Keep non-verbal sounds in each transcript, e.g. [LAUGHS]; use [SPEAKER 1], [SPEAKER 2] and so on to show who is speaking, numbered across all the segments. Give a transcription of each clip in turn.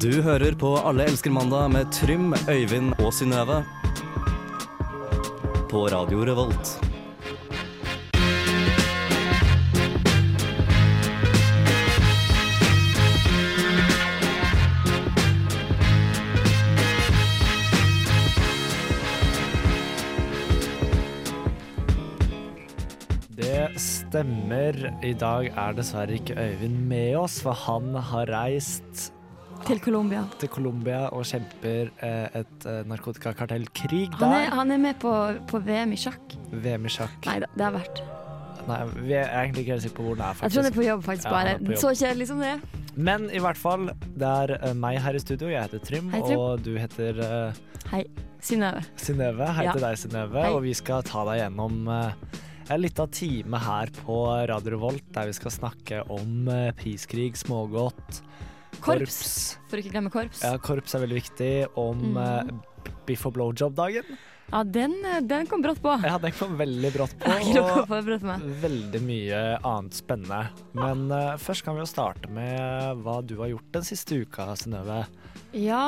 [SPEAKER 1] Du hører på Alle elsker mandag med Trym, Øyvind og Synnøve. På Radio Revolt.
[SPEAKER 2] Det stemmer. I dag er dessverre ikke Øyvind med oss, for han har reist
[SPEAKER 3] Til Colombia.
[SPEAKER 2] til Colombia og kjemper eh, et eh, narkotikakartellkrig
[SPEAKER 3] Han er,
[SPEAKER 2] der.
[SPEAKER 3] han er med på, på VM i sjakk.
[SPEAKER 2] VM i sjakk.
[SPEAKER 3] Nei da, det har vært.
[SPEAKER 2] Nei, vi er egentlig ikke helt sikre på hvor den er,
[SPEAKER 3] Jeg tror han er
[SPEAKER 2] faktisk.
[SPEAKER 3] på jobb, faktisk.
[SPEAKER 2] Ja, han er
[SPEAKER 3] bare.
[SPEAKER 2] på jobb.
[SPEAKER 3] Så kjedelig som det er.
[SPEAKER 2] Men i hvert fall, det er eh, meg her i studio. Jeg heter Trym,
[SPEAKER 3] Hei, Trym.
[SPEAKER 2] og du heter eh,
[SPEAKER 3] Synnøve.
[SPEAKER 2] Synnøve. Hei
[SPEAKER 3] Ja.
[SPEAKER 2] til deg, Synnøve.
[SPEAKER 3] Hei.
[SPEAKER 2] Og vi skal ta deg gjennom eh, en liten time her på Radio Revolt, der vi skal snakke om eh, priskrig, smågodt,
[SPEAKER 3] Korps. For å ikke glemme korps.
[SPEAKER 2] Ja, korps er veldig viktig. Om
[SPEAKER 3] Mm.
[SPEAKER 2] eh, biff og blowjob-dagen.
[SPEAKER 3] Ja, den, den kom brått på. Jeg
[SPEAKER 2] Ja, den kom veldig
[SPEAKER 3] [LAUGHS]
[SPEAKER 2] brått
[SPEAKER 3] har ikke noe
[SPEAKER 2] på.
[SPEAKER 3] forberedt meg.
[SPEAKER 2] Og veldig mye annet spennende. Men eh, først kan vi jo starte med hva du har gjort den siste uka, Synnøve.
[SPEAKER 3] Ja,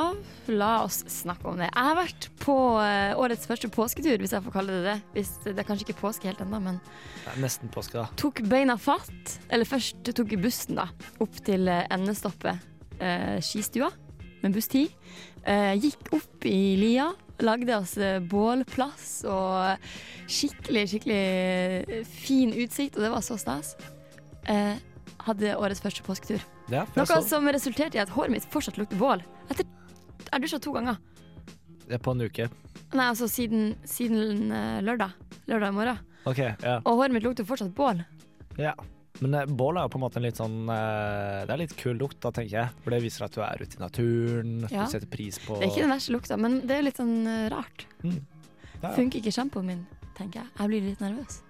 [SPEAKER 3] la oss snakke om det. Jeg har vært på eh, årets første påsketur, hvis jeg får kalle det det. Hvis det det er kanskje ikke påske helt ennå, men
[SPEAKER 2] Det er Nesten påske, da.
[SPEAKER 3] tok beina fatt. Eller først tok jeg bussen, da, opp til eh, endestoppet. Eh, skistua med buss 10. Eh, gikk opp i lia. Lagde oss eh, bålplass og skikkelig, skikkelig eh, fin utsikt, og det var så stas. Eh, hadde årets første påsketur.
[SPEAKER 2] Ja, for jeg
[SPEAKER 3] Noe
[SPEAKER 2] så-
[SPEAKER 3] som resulterte i at håret mitt fortsatt lukter bål. Etter Jeg dusja to ganger.
[SPEAKER 2] Det er På en uke.
[SPEAKER 3] Nei, altså siden, siden eh, lørdag. Lørdag morgen.
[SPEAKER 2] OK. Ja.
[SPEAKER 3] Og håret mitt lukter fortsatt bål.
[SPEAKER 2] ja. Men eh, bål er jo på en måte en litt sånn eh, Det er litt kul lukt, da, tenker jeg. For det viser at du er ute i naturen,
[SPEAKER 3] Ja.
[SPEAKER 2] du setter pris på
[SPEAKER 3] Det er ikke den verste lukta, men det er litt sånn eh, rart.
[SPEAKER 2] Mm. Ja, ja.
[SPEAKER 3] Funker ikke sjampoen min, tenker jeg. Jeg blir litt nervøs.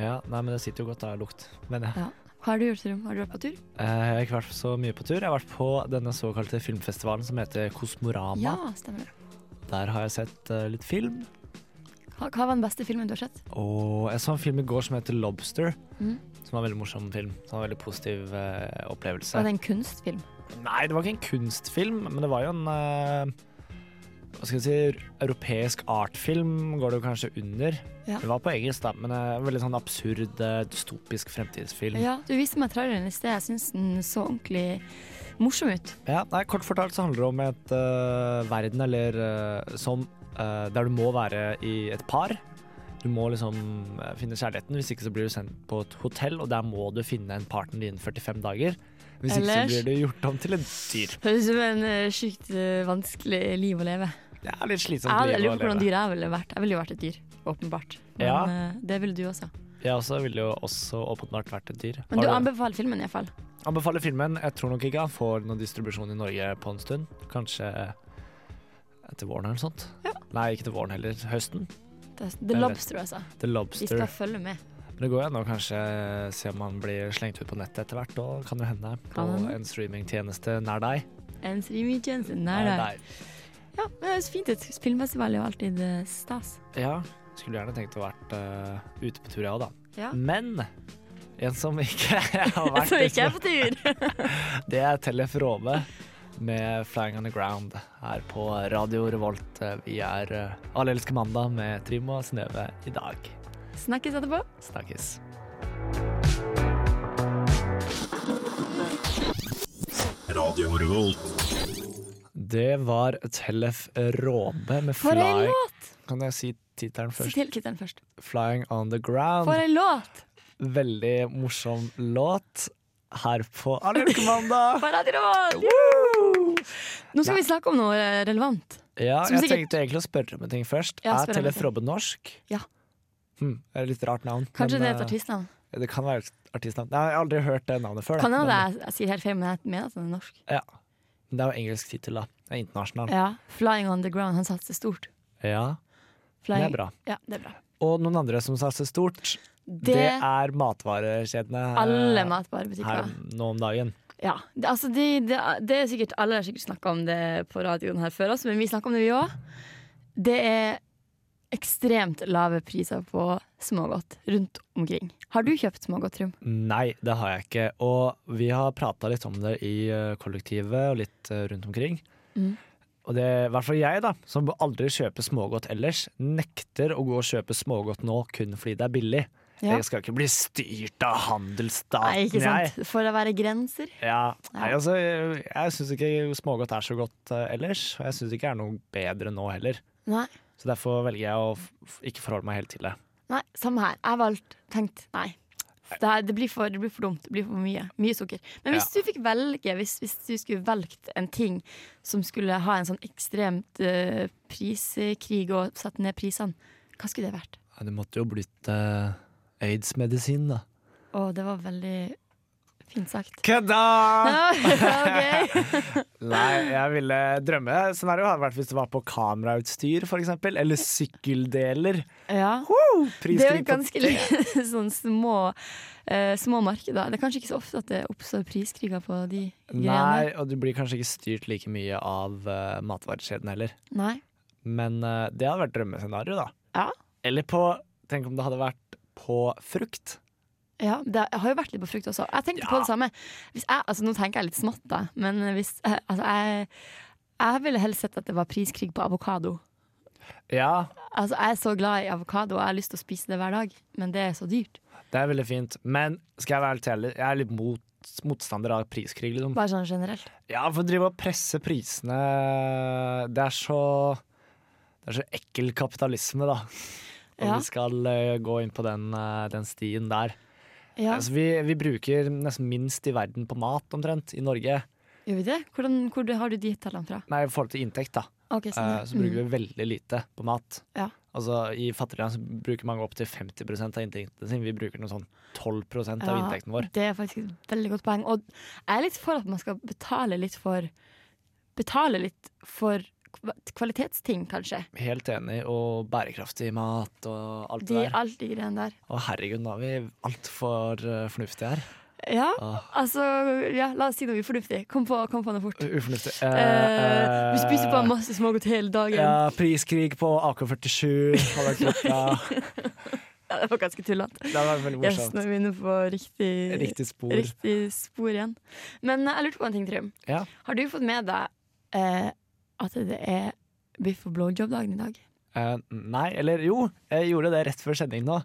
[SPEAKER 2] Ja, nei, men det sitter jo godt da, lukt. Men ja.
[SPEAKER 3] Hva har du gjort, Trym? Har du vært på tur?
[SPEAKER 2] Eh, Jeg har ikke vært så mye på tur. Jeg har vært på denne såkalte filmfestivalen som heter Kosmorama.
[SPEAKER 3] Ja, stemmer det.
[SPEAKER 2] Der har jeg sett eh, litt film.
[SPEAKER 3] Hva, hva var den beste filmen du har sett?
[SPEAKER 2] Og jeg så en film i går som heter Lobster,
[SPEAKER 3] Mm.
[SPEAKER 2] som var en veldig morsom film. Som var en veldig positiv eh, opplevelse.
[SPEAKER 3] Var det en kunstfilm?
[SPEAKER 2] Nei, det var ikke en kunstfilm, men det var jo en eh, Hva skal jeg si Europeisk artfilm går det jo kanskje under.
[SPEAKER 3] Ja.
[SPEAKER 2] Det var på engelsk, da, men eh, veldig sånn absurd, eh, dystopisk fremtidsfilm.
[SPEAKER 3] Ja, du viste meg traileren i sted. Jeg syns den så ordentlig morsom ut.
[SPEAKER 2] Ja, nei, Kort fortalt så handler det om et øh, verden eller øh, som øh, der du må være i et par. Du må liksom øh, finne kjærligheten, hvis ikke så blir du sendt på et hotell, og der må du finne en partner innen 45 dager. Hvis
[SPEAKER 3] Ellers-
[SPEAKER 2] ikke så blir du gjort om til et dyr.
[SPEAKER 3] Høres ut som en eh, sykt eh, vanskelig liv å leve.
[SPEAKER 2] Det er litt slitsomt
[SPEAKER 3] Jeg, jeg
[SPEAKER 2] liv
[SPEAKER 3] lurer
[SPEAKER 2] å
[SPEAKER 3] på hvordan
[SPEAKER 2] leve.
[SPEAKER 3] dyr jeg ville vært. Jeg ville jo vært et dyr, åpenbart. Men
[SPEAKER 2] Ja.
[SPEAKER 3] eh, det ville du også.
[SPEAKER 2] Jeg også ville jo også åpenbart vært et dyr.
[SPEAKER 3] Men du
[SPEAKER 2] Har du-
[SPEAKER 3] anbefaler filmen iallfall.
[SPEAKER 2] anbefaler filmen. Jeg tror nok ikke han får noen distribusjon i Norge på en stund. Kanskje etter våren eller noe sånt.
[SPEAKER 3] Ja.
[SPEAKER 2] Nei, ikke til våren heller. Høsten.
[SPEAKER 3] The Lobster, altså.
[SPEAKER 2] The
[SPEAKER 3] Vi
[SPEAKER 2] Lobster.
[SPEAKER 3] skal følge med.
[SPEAKER 2] Men Det går jo an å kanskje se om man blir slengt ut på nettet etter hvert. Da kan det hende på
[SPEAKER 3] Kan hende.
[SPEAKER 2] en streamingtjeneste nær deg.
[SPEAKER 3] En streamingtjeneste nær deg.
[SPEAKER 2] deg.
[SPEAKER 3] Ja, men det høres fint ut. Filmfestival er jo alltid eh, stas.
[SPEAKER 2] Ja, skulle gjerne tenkt å vært eh, ute på tur, jeg òg, da.
[SPEAKER 3] Ja.
[SPEAKER 2] Men en som ikke [LAUGHS] har
[SPEAKER 3] [LAUGHS]
[SPEAKER 2] vært
[SPEAKER 3] Så gikk
[SPEAKER 2] ute
[SPEAKER 3] jeg på [LAUGHS] tur.
[SPEAKER 2] på- det er Tellef Råve med 'Flying on the Ground' her på Radio Revolt. Vi er eh, Alle elsker mandag med Trym og Synnøve i dag.
[SPEAKER 3] Snakkes etterpå.
[SPEAKER 2] Snakkes.
[SPEAKER 4] Radio Revolt.
[SPEAKER 2] Det var Tellef Råve med
[SPEAKER 3] For ei
[SPEAKER 2] 'Fly'.
[SPEAKER 3] låt!
[SPEAKER 2] Kan jeg si tittelen
[SPEAKER 3] Si
[SPEAKER 2] først?
[SPEAKER 3] til tittelen først.
[SPEAKER 2] 'Flying on the ground'.
[SPEAKER 3] For ei låt!
[SPEAKER 2] Veldig morsom låt her på
[SPEAKER 3] [LAUGHS]
[SPEAKER 2] Allergikermandag.
[SPEAKER 3] For et råd! Nå skal vi snakke om noe eh, relevant.
[SPEAKER 2] Ja,
[SPEAKER 3] Som
[SPEAKER 2] jeg
[SPEAKER 3] sikkert-
[SPEAKER 2] tenkte egentlig å spørre om en ting først.
[SPEAKER 3] Ja,
[SPEAKER 2] er
[SPEAKER 3] spør om en
[SPEAKER 2] Tellef
[SPEAKER 3] ting.
[SPEAKER 2] Robbe norsk?
[SPEAKER 3] Ja.
[SPEAKER 2] Hm, det er litt rart navn.
[SPEAKER 3] Kanskje det
[SPEAKER 2] men,
[SPEAKER 3] er et artistnavn.
[SPEAKER 2] eh, Det kan være et artistnavn. Nei, Jeg har aldri hørt det navnet før. da,
[SPEAKER 3] Kan hende
[SPEAKER 2] men-
[SPEAKER 3] jeg, jeg sier helt feil, men jeg mener at han er norsk.
[SPEAKER 2] Ja. Men det er jo engelsk tittel, da. Det er internasjonal.
[SPEAKER 3] Ja, 'Flying on the ground'. Han satser stort.
[SPEAKER 2] Ja, det
[SPEAKER 3] Flying.
[SPEAKER 2] er bra.
[SPEAKER 3] Ja, det er bra.
[SPEAKER 2] Og noen andre som satser stort, det,
[SPEAKER 3] Det
[SPEAKER 2] er matvarekjedene eh,
[SPEAKER 3] alle
[SPEAKER 2] her
[SPEAKER 3] matvarebutikker.
[SPEAKER 2] nå om dagen.
[SPEAKER 3] Ja, det, altså de, det, det er sikkert Alle har sikkert snakka om det på radioen her før oss, men vi snakker om det, vi òg. Det er ekstremt lave priser på smågodt rundt omkring. Har du kjøpt smågodt, Trym?
[SPEAKER 2] Nei, det har jeg ikke. Og vi har prata litt om det i eh, kollektivet og litt eh, rundt omkring.
[SPEAKER 3] Mm.
[SPEAKER 2] Og det, i hvert fall jeg, da, som aldri kjøper smågodt ellers, nekter å gå og kjøpe smågodt nå kun fordi det er billig.
[SPEAKER 3] Ja.
[SPEAKER 2] Jeg skal ikke bli styrt av handelsstaten,
[SPEAKER 3] Nei, ikke
[SPEAKER 2] jeg.
[SPEAKER 3] sant. For å være grenser.
[SPEAKER 2] Ja.
[SPEAKER 3] Ja.
[SPEAKER 2] Nei, altså, jeg jeg syns ikke smågodt er så godt eh, ellers, og jeg syns ikke det er noe bedre nå heller.
[SPEAKER 3] Nei.
[SPEAKER 2] Så derfor velger jeg å f f- ikke forholde meg helt til det.
[SPEAKER 3] Nei, samme her. Jeg valgte tenkt nei. Det, her, det, blir for, det blir for dumt. Det blir for mye. Mye sukker. Men hvis du fikk velge, hvis, hvis du skulle valgt en ting som skulle ha en sånn ekstremt eh, priskrig og sette ned prisene, hva skulle det vært?
[SPEAKER 2] Ja, Det måtte jo blitt eh, aids-medisin, da.
[SPEAKER 3] Å, det var veldig fint sagt.
[SPEAKER 2] Kødda!
[SPEAKER 3] [LAUGHS] Ja, ok.
[SPEAKER 2] Nei, jeg ville Drømmescenario hadde vært hvis det var på kamerautstyr, f.eks. Eller sykkeldeler.
[SPEAKER 3] [LAUGHS] Ja. Det er
[SPEAKER 2] Priskrig
[SPEAKER 3] jo
[SPEAKER 2] på
[SPEAKER 3] ganske li- [LAUGHS] sånn små, eh, små markeder. Det er kanskje ikke så ofte at det oppstår priskriger på de greiene.
[SPEAKER 2] Nei, og du blir kanskje ikke styrt like mye av uh, matvarekjeden heller.
[SPEAKER 3] Nei.
[SPEAKER 2] Men eh, det hadde vært drømmescenario, da.
[SPEAKER 3] Ja.
[SPEAKER 2] Eller på Tenk om det hadde vært på frukt.
[SPEAKER 3] Ja, det har jo vært litt på frukt også. Jeg tenkte på
[SPEAKER 2] Ja.
[SPEAKER 3] det samme. Hvis jeg, altså, nå tenker jeg litt smått, da. Men hvis, eh, altså, jeg, jeg ville helst sett at det var priskrig på avokado.
[SPEAKER 2] Ja,
[SPEAKER 3] Altså, jeg er så glad i avokado, og jeg har lyst til å spise det hver dag. Men det er så dyrt.
[SPEAKER 2] det er veldig fint. Men skal jeg være helt ærlig, jeg er litt mot, motstander av priskrig, liksom.
[SPEAKER 3] Bare sånn generelt.
[SPEAKER 2] Ja, for å drive og presse prisene Det er så Det er så ekkel kapitalisme, da. Om
[SPEAKER 3] Ja.
[SPEAKER 2] vi skal eh, gå inn på den, eh, den stien der.
[SPEAKER 3] Ja,
[SPEAKER 2] Altså, vi, vi bruker nesten minst i verden på mat, omtrent, i Norge.
[SPEAKER 3] Gjør vi det? Hvordan, hvor du- har du de tallene fra?
[SPEAKER 2] Nei, i forhold til inntekt, da.
[SPEAKER 3] Ok, sånn,
[SPEAKER 2] eh,
[SPEAKER 3] ja.
[SPEAKER 2] Så bruker vi veldig lite på mat.
[SPEAKER 3] Ja.
[SPEAKER 2] Altså, I fattige land så bruker mange opptil 50 av inntekten sin. Vi bruker noe sånn 12 av
[SPEAKER 3] Ja,
[SPEAKER 2] inntekten vår.
[SPEAKER 3] Det er faktisk et veldig godt poeng. Og jeg er litt for at man skal betale litt for Betale litt for kva- kvalitetsting, kanskje.
[SPEAKER 2] Helt enig. Og bærekraftig mat og alt
[SPEAKER 3] De,
[SPEAKER 2] det der.
[SPEAKER 3] alt de greiene der.
[SPEAKER 2] Å herregud, nå er vi altfor uh, fornuftige her.
[SPEAKER 3] Ja,
[SPEAKER 2] Åh.
[SPEAKER 3] altså ja, La oss si noe ufornuftig. Kom på, kom på noe fort.
[SPEAKER 2] U- Ufornuftig.
[SPEAKER 3] Eh, vi spiser bare masse smågodt hele dagen. Ja.
[SPEAKER 2] Ja, priskrig på AK-47 hadde vært kult.
[SPEAKER 3] [LAUGHS]
[SPEAKER 2] Ja.
[SPEAKER 3] det var ganske tullete.
[SPEAKER 2] Det hadde vært veldig
[SPEAKER 3] Yes,
[SPEAKER 2] morsomt.
[SPEAKER 3] nå er vi inne på riktig,
[SPEAKER 2] Riktig spor.
[SPEAKER 3] riktig spor igjen. Men eh, jeg lurte på en ting, Trym.
[SPEAKER 2] Ja.
[SPEAKER 3] Har du fått med deg eh, at det er biff og blowjob-dagen i dag?
[SPEAKER 2] Eh, nei, eller jo, jeg gjorde det rett før sending nå.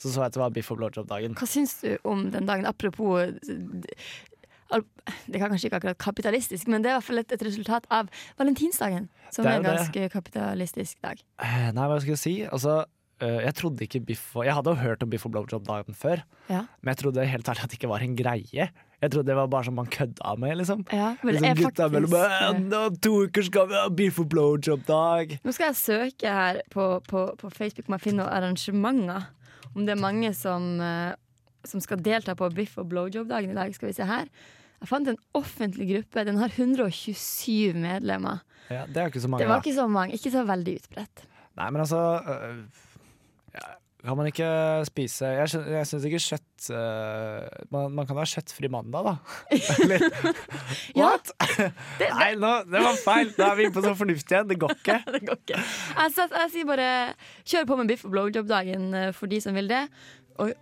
[SPEAKER 2] Så så jeg at det var biff og blowjob-dagen.
[SPEAKER 3] Hva syns du om den dagen? Apropos eh, d- al- det er kanskje ikke akkurat kapitalistisk, men det er i hvert fall et, et resultat av valentinsdagen. Som
[SPEAKER 2] Det er
[SPEAKER 3] er en
[SPEAKER 2] jo
[SPEAKER 3] ganske kapitalistisk dag.
[SPEAKER 2] Eh, Nei, hva skal jeg si? Altså, eh, jeg trodde ikke biff og Jeg hadde jo hørt om biff og blowjob-dagen før,
[SPEAKER 3] Ja.
[SPEAKER 2] men jeg trodde helt ærlig at det ikke var en greie. Jeg trodde det var bare sånn man kødda med, liksom.
[SPEAKER 3] Ja, men det
[SPEAKER 2] Liksom
[SPEAKER 3] er
[SPEAKER 2] gutta
[SPEAKER 3] faktisk-
[SPEAKER 2] mellom «Eh, om To uker skal vi ha biff og blowjob-dag!
[SPEAKER 3] Nå skal jeg søke her på, på, på Facebook om jeg finner noen arrangementer. Om det er mange som, eh, som skal delta på biff- og blowjob-dagen i dag. Skal vi se her. Jeg fant en offentlig gruppe. Den har 127 medlemmer.
[SPEAKER 2] Ja, det er jo ikke så mange,
[SPEAKER 3] Det var ikke så mange. Ikke så veldig utbredt.
[SPEAKER 2] Nei, men altså øh, ja, Kan man ikke spise Jeg, skjøn- jeg syns ikke kjøtt øh, man, man kan ha kjøttfri mandag,
[SPEAKER 3] [LAUGHS]
[SPEAKER 2] da. Eller
[SPEAKER 3] Ja,
[SPEAKER 2] What?! Nei, nå, det var feil! Da er vi inne på sånn fornuftig igjen. Det går ikke.
[SPEAKER 3] [LAUGHS] det går ikke. Jeg, sier- jeg sier bare kjør på med biff- og blowjob-dagen eh, for de som vil det. Og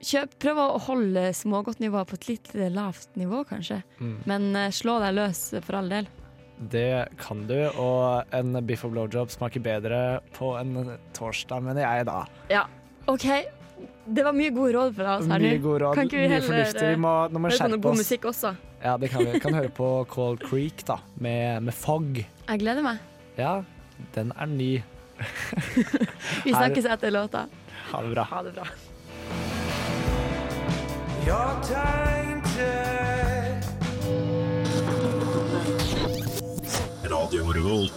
[SPEAKER 3] kjøp, prøv å holde smågodtnivået på et litt lavt nivå, kanskje.
[SPEAKER 2] Mm.
[SPEAKER 3] Men eh, slå deg løs, for all del.
[SPEAKER 2] Det kan du, og en biff og blowjob smaker bedre på en torsdag, mener jeg, da.
[SPEAKER 3] Ja, OK. Det var mye gode råd fra oss her nå.
[SPEAKER 2] Mye gode råd,
[SPEAKER 3] Kan ikke vi
[SPEAKER 2] mye
[SPEAKER 3] heller,
[SPEAKER 2] fornuftig. Vi må, nå må vi
[SPEAKER 3] Hør på noe
[SPEAKER 2] skjerpe
[SPEAKER 3] god
[SPEAKER 2] oss.
[SPEAKER 3] musikk også.
[SPEAKER 2] Ja, det kan vi. Kan høre på Cold Creek, da, med, med Fog.
[SPEAKER 3] Jeg gleder meg.
[SPEAKER 2] Ja, den er ny.
[SPEAKER 3] Vi
[SPEAKER 2] Her-
[SPEAKER 3] snakkes etter låta.
[SPEAKER 2] Ha det bra.
[SPEAKER 3] Ha det bra.
[SPEAKER 4] Radio Revolt.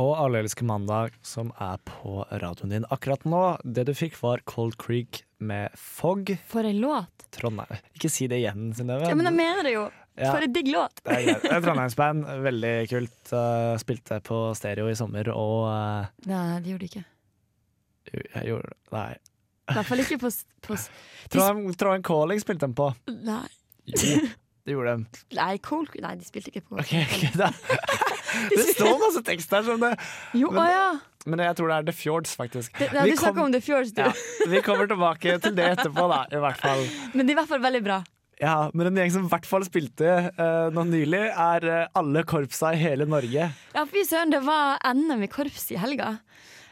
[SPEAKER 2] Og Alle elsker mandag, som er på radioen din akkurat nå. Det du fikk, var Cold Creek med Fog.
[SPEAKER 3] For ei låt.
[SPEAKER 2] Trondheim Ikke si det igjen, Synnøve.
[SPEAKER 3] Ja, men jeg mener det jo.
[SPEAKER 2] Ja.
[SPEAKER 3] For ei digg låt.
[SPEAKER 2] Det er greit. Det er Trondheimsband. Veldig kult. Eh, spilte på stereo i sommer og eh,
[SPEAKER 3] Nei, det gjorde det ikke.
[SPEAKER 2] jeg gjorde Nei.
[SPEAKER 3] I hvert fall ikke på, s- på s-
[SPEAKER 2] Trondheim, Trondheim Calling spilte de på.
[SPEAKER 3] Nei.
[SPEAKER 2] Jo, det gjorde de.
[SPEAKER 3] Nei, Cold Creek Nei, de spilte ikke på
[SPEAKER 2] Ok, ok,
[SPEAKER 3] [LAUGHS]
[SPEAKER 2] da. Det står masse tekst der, som det.
[SPEAKER 3] Jo,
[SPEAKER 2] Men-
[SPEAKER 3] å ja.
[SPEAKER 2] men jeg tror det er The Fjords, faktisk.
[SPEAKER 3] Det, nei,
[SPEAKER 2] Vi
[SPEAKER 3] du
[SPEAKER 2] kom-
[SPEAKER 3] snakker om The Fjords, du.
[SPEAKER 2] ja, vi kommer tilbake til det etterpå, da, i hvert fall.
[SPEAKER 3] Men det er i hvert fall veldig bra.
[SPEAKER 2] Ja, Men en gjeng som i hvert fall spilte eh, nå nylig, er eh, alle korpsa i hele Norge.
[SPEAKER 3] Ja, fy søren, det var NM i korps i helga.